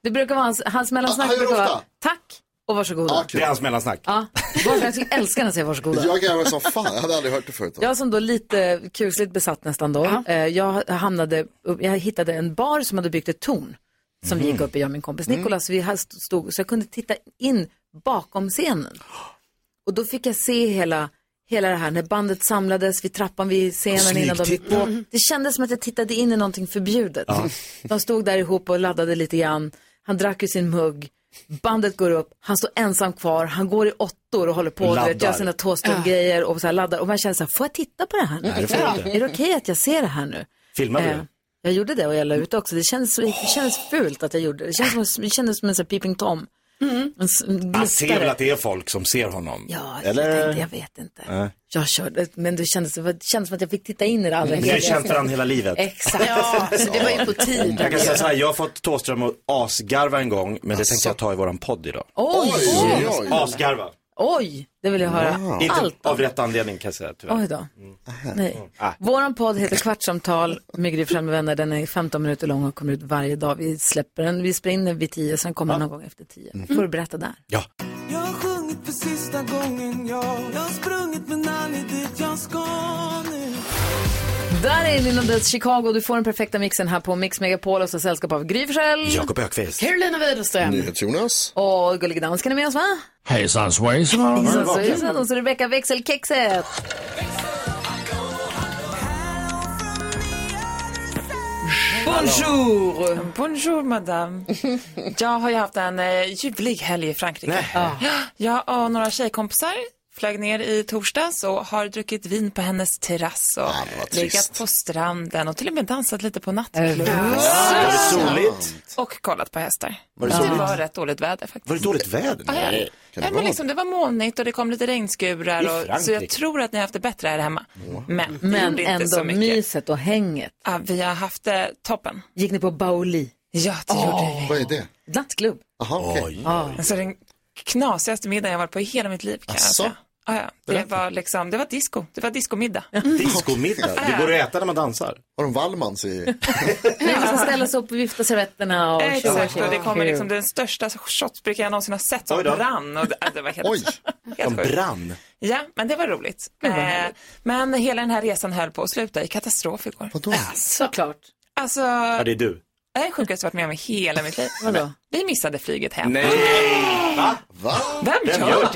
Speaker 2: Det brukar vara hans, hans mellansnack
Speaker 7: Han gör
Speaker 2: brukar
Speaker 7: ofta.
Speaker 2: vara tack och varsågoda.
Speaker 3: Det är hans mellansnack.
Speaker 2: Ja, varför jag skulle älska när jag säger varsågoda.
Speaker 7: Jag garvade som fan, jag hade aldrig hört det förut.
Speaker 2: Jag som då lite kusligt besatt nästan då. eh, Jag, hamnade, upp- jag hittade en bar som hade byggt ett torn. Som vi gick upp i, jag och min kompis
Speaker 8: Mhm. Mm.
Speaker 2: Nikolas. Vi här st- stod, så jag kunde titta in bakom scenen. Och då fick jag se hela, hela det här när bandet samlades vid trappan vid scenen innan de gick på.
Speaker 8: Smygtittning.
Speaker 2: Det kändes som att jag tittade in i någonting förbjudet.
Speaker 8: Ja.
Speaker 2: De stod där ihop och laddade lite grann. Han drack ur sin mugg. Bandet går upp, han står ensam kvar, han går i åttor och håller på
Speaker 8: Och
Speaker 2: och
Speaker 8: laddar.
Speaker 2: gör sina Thåström-grejer och så här laddar. Och man känner så här, får jag titta på det här nu?
Speaker 8: Nej, det får du inte.
Speaker 2: Är det okej att jag ser det här nu? Eh,
Speaker 8: Filmade du?
Speaker 2: Jag gjorde det och jag la ut också. Det kändes, det kändes fult att jag gjorde det. Det kändes som, det kändes som en sån här peeping tom.
Speaker 6: Mm.
Speaker 2: En s- en
Speaker 3: Han ser väl
Speaker 2: glittare.
Speaker 3: att det är folk som ser honom?
Speaker 2: Ja, jag
Speaker 3: Eller?
Speaker 2: tänkte, jag vet inte.
Speaker 3: Nej.
Speaker 2: Jag körde, men det kändes, det kändes som att jag fick titta in i det allra
Speaker 12: Mm,
Speaker 3: Det är känt för han hela livet.
Speaker 2: Exakt.
Speaker 6: Ja, så det var ju på tiden.
Speaker 3: Jag
Speaker 2: eh.
Speaker 3: kan säga så här, jag har fått Thåström att asgarva en gång, men det tänkte jag ta i våran podd idag.
Speaker 2: Oj, oj, oj.
Speaker 3: Asgarva.
Speaker 2: Oj, det vill jag höra. Allt.
Speaker 3: Inte av rätt anledning kan jag säga tyvärr.
Speaker 2: Oj då. Nej.
Speaker 3: Ah.
Speaker 2: Vår podd heter Kvartsamtal med Gry Forssell med vänner. Den är 15 minuter lång och kommer ut varje dag. Vi släpper den, vi spelar in den vid 10, sen kommer den någon gång efter 10. Får du berätta där.
Speaker 18: Jag har sjungit för sista gången, ja. Jag har sprungit med Nanny dit jag ska nu.
Speaker 2: Där är Lina Dels Chicago. Du får den perfekta mixen här på Mix Megapol och så sällskap av Gry Forssell.
Speaker 3: Jakob Ökvist.
Speaker 2: Carolina Widerström.
Speaker 7: Jonas.
Speaker 2: Och Gullige Dansken är med oss va?
Speaker 9: Hejsan svejsan.
Speaker 2: Så, så, så, så, så Rebecka Växelkexet. Bonjour!
Speaker 17: Bonjour madame. Jag har ju haft en eh, ljuvlig helg i Frankrike. Jag och några tjejkompisar flög ner i torsdags och har druckit vin på hennes terrass och legat
Speaker 8: trist.
Speaker 17: på stranden och till och med dansat lite på nattklubb.
Speaker 3: Var det soligt?
Speaker 17: Och kollat på hästar.
Speaker 3: Var det soligt?
Speaker 17: var rätt dåligt väder faktiskt.
Speaker 3: Var det dåligt väder?
Speaker 17: Ja, ja.
Speaker 3: Nej. Kan det vara
Speaker 17: Nej, men liksom, det var molnigt och det kom lite regnskurar.
Speaker 3: I
Speaker 17: Och, så
Speaker 3: Frankrike.
Speaker 17: jag tror att ni har haft det bättre här hemma. Men, det
Speaker 2: Men
Speaker 17: gjorde inte
Speaker 2: ändå
Speaker 17: så mycket.
Speaker 2: myset och hänget.
Speaker 17: Ja, vi har haft det toppen.
Speaker 2: Gick ni på Baoli?
Speaker 17: Ja, det gjorde vi.
Speaker 7: Vad är det?
Speaker 2: Nattklubb.
Speaker 7: Jaha, okej.
Speaker 17: Ja. Alltså den knasigaste middagen jag varit på i hela mitt liv kan jag
Speaker 3: Asså?
Speaker 17: säga. Ja, ja. Det
Speaker 3: Berätta.
Speaker 17: var liksom, det var disco. Det var discomiddag.
Speaker 3: Discomiddag, det går att äta när man dansar.
Speaker 7: Har de Wallmans i?
Speaker 2: Man ska ställa sig upp och vifta servetterna och
Speaker 17: Exakt,
Speaker 2: tjo, tjo,
Speaker 17: och det kommer
Speaker 2: tjo.
Speaker 17: liksom den största shotsbrickan jag någonsin har sett som
Speaker 2: Oj då.
Speaker 17: brann. Och det, ja, det var helt,
Speaker 2: Oj,
Speaker 17: helt
Speaker 3: de
Speaker 17: sjukt.
Speaker 3: brann.
Speaker 17: Ja, men det var roligt.
Speaker 2: Gud, vad
Speaker 17: Eh,
Speaker 2: härligt.
Speaker 17: men hela den här resan höll på att sluta i katastrof igår.
Speaker 7: Vadå?
Speaker 2: Såklart.
Speaker 17: Alltså,
Speaker 3: Ja,
Speaker 17: det
Speaker 3: det är du.
Speaker 17: är det sjukaste jag varit med om i hela mitt liv.
Speaker 2: Vadå?
Speaker 17: Vi missade flyget hem.
Speaker 3: Nej! Va?
Speaker 17: Vem, gör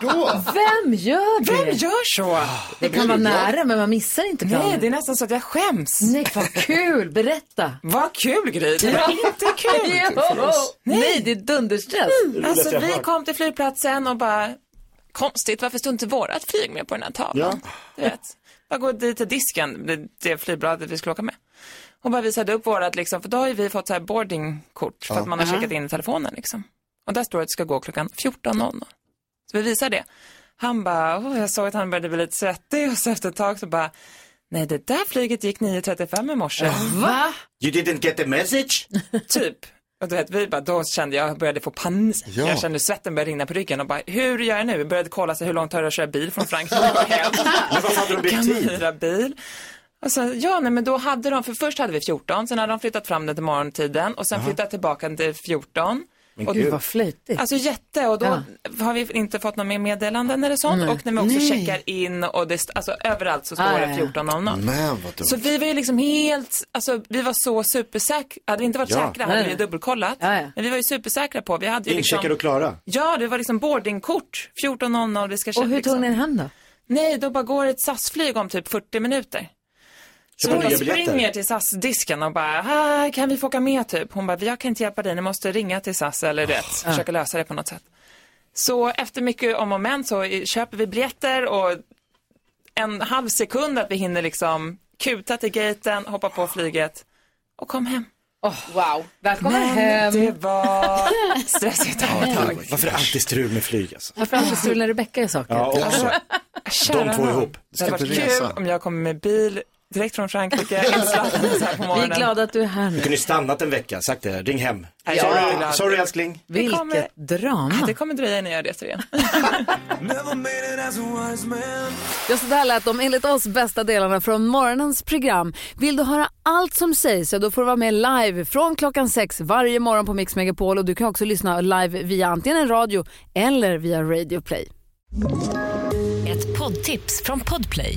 Speaker 17: det?
Speaker 2: Vem gör det?
Speaker 17: Vem gör så?
Speaker 2: Det kan vara nära men man missar inte planen.
Speaker 17: Nej, det är nästan så att jag skäms.
Speaker 2: Nej, vad kul. Berätta.
Speaker 17: Vad kul Gry, det var
Speaker 2: Ja.
Speaker 17: inte kul.
Speaker 2: Jo. Nej. det är dunderstress.
Speaker 17: Mm, Alltså vi kom till flygplatsen och bara, konstigt varför stod inte vårat flyg med på den här tavlan? Du vet, bara gå dit till disken, det, det flygbladet vi skulle åka med. och bara visade upp vårat, liksom, för då har ju vi fått så här boardingkort för
Speaker 7: Ja.
Speaker 17: att man har
Speaker 7: Mhm.
Speaker 17: checkat in i telefonen. Liksom. Och där står det att det ska gå klockan 14.00. Så vi visar det. Han bara, "Åh, jag såg att han började bli lite svettig och så efter ett tag så bara, nej det där flyget gick 9.35 i morse. Va?
Speaker 3: You didn't get the message?
Speaker 17: typ. Och du vet, vi bara, då kände jag, jag började få panik.
Speaker 3: Ja.
Speaker 17: Jag kände svetten började rinna på ryggen och bara, hur gör jag nu? Vi började kolla så hur långt har det att köra bil från Frankrike hem?
Speaker 3: Men varför hade de bytt
Speaker 17: kan
Speaker 3: tid?
Speaker 17: man hyra bil? Och sen, ja, nej, men då hade de, för först hade vi 14, sen hade de flyttat fram den till morgontiden och sen
Speaker 2: Jaha.
Speaker 17: flyttat tillbaka den till 14.
Speaker 2: Men
Speaker 17: och
Speaker 2: gud, vad flitigt.
Speaker 17: Alltså jätte, och då har vi inte fått några mer meddelanden eller sånt.
Speaker 2: Nej.
Speaker 17: Och när vi också
Speaker 2: Nej.
Speaker 17: checkar in och det, st- alltså överallt så står
Speaker 2: Ah,
Speaker 17: det
Speaker 2: ja, ja.
Speaker 17: 14.00.
Speaker 7: Men vad
Speaker 17: Så vi var ju liksom helt, alltså vi var så supersäkra, hade vi inte varit
Speaker 3: Ja.
Speaker 17: säkra hade
Speaker 3: Nej.
Speaker 17: vi dubbelkollat. Men vi var ju supersäkra på, vi hade ju liksom,
Speaker 3: Incheckade och klara.
Speaker 17: ja det var liksom boardingkort, 14.00, vi ska liksom.
Speaker 2: Och hur tog ni er hem då?
Speaker 17: Nej, då bara går ett SAS-flyg om typ 40 minuter. Så
Speaker 2: Köpa
Speaker 17: hon bara
Speaker 2: nya biljetter.
Speaker 17: springer till SAS-disken och bara, "Ah, kan vi få åka med typ? Hon bara, jag kan inte hjälpa dig, ni måste ringa till SAS eller rätt,
Speaker 2: Ah.
Speaker 17: försöka lösa det på något sätt. Så efter mycket om och men så i- köper vi biljetter och en halv sekund att vi hinner liksom kuta till gaten, hoppa på flyget och kom hem.
Speaker 2: wow, välkommen
Speaker 17: men
Speaker 2: hem.
Speaker 17: det var stressigt.
Speaker 3: Varför är det alltid strul med flyg alltså?
Speaker 2: Varför alltid strul när Rebecka gör saker?
Speaker 3: Ja, också.
Speaker 17: Kära
Speaker 3: De två
Speaker 17: nån.
Speaker 3: ihop.
Speaker 17: Det hade
Speaker 3: Ska
Speaker 17: varit
Speaker 3: inte
Speaker 17: kul
Speaker 3: resa.
Speaker 17: om jag kommer med bil direkt från Frankrike, en slatten så här på morgonen.
Speaker 2: Vi är glada att du är här
Speaker 3: Du
Speaker 2: nu.
Speaker 3: kunde ju stannat en vecka, sagt det, ring hem.
Speaker 17: Nej, jag är inte
Speaker 3: Sorry,
Speaker 17: glad.
Speaker 3: sorry älskling.
Speaker 17: Det
Speaker 2: Vilket
Speaker 17: kommer-
Speaker 2: drama.
Speaker 17: Det kommer dröja innan jag reser igen.
Speaker 2: Ja, så där lät de enligt oss bästa delarna från morgonens program. Vill du höra allt som sägs så då får du vara med live från klockan sex varje morgon på Mix Megapol och du kan också lyssna live via antingen en radio eller via Radio Play.
Speaker 13: Ett poddtips från Podplay.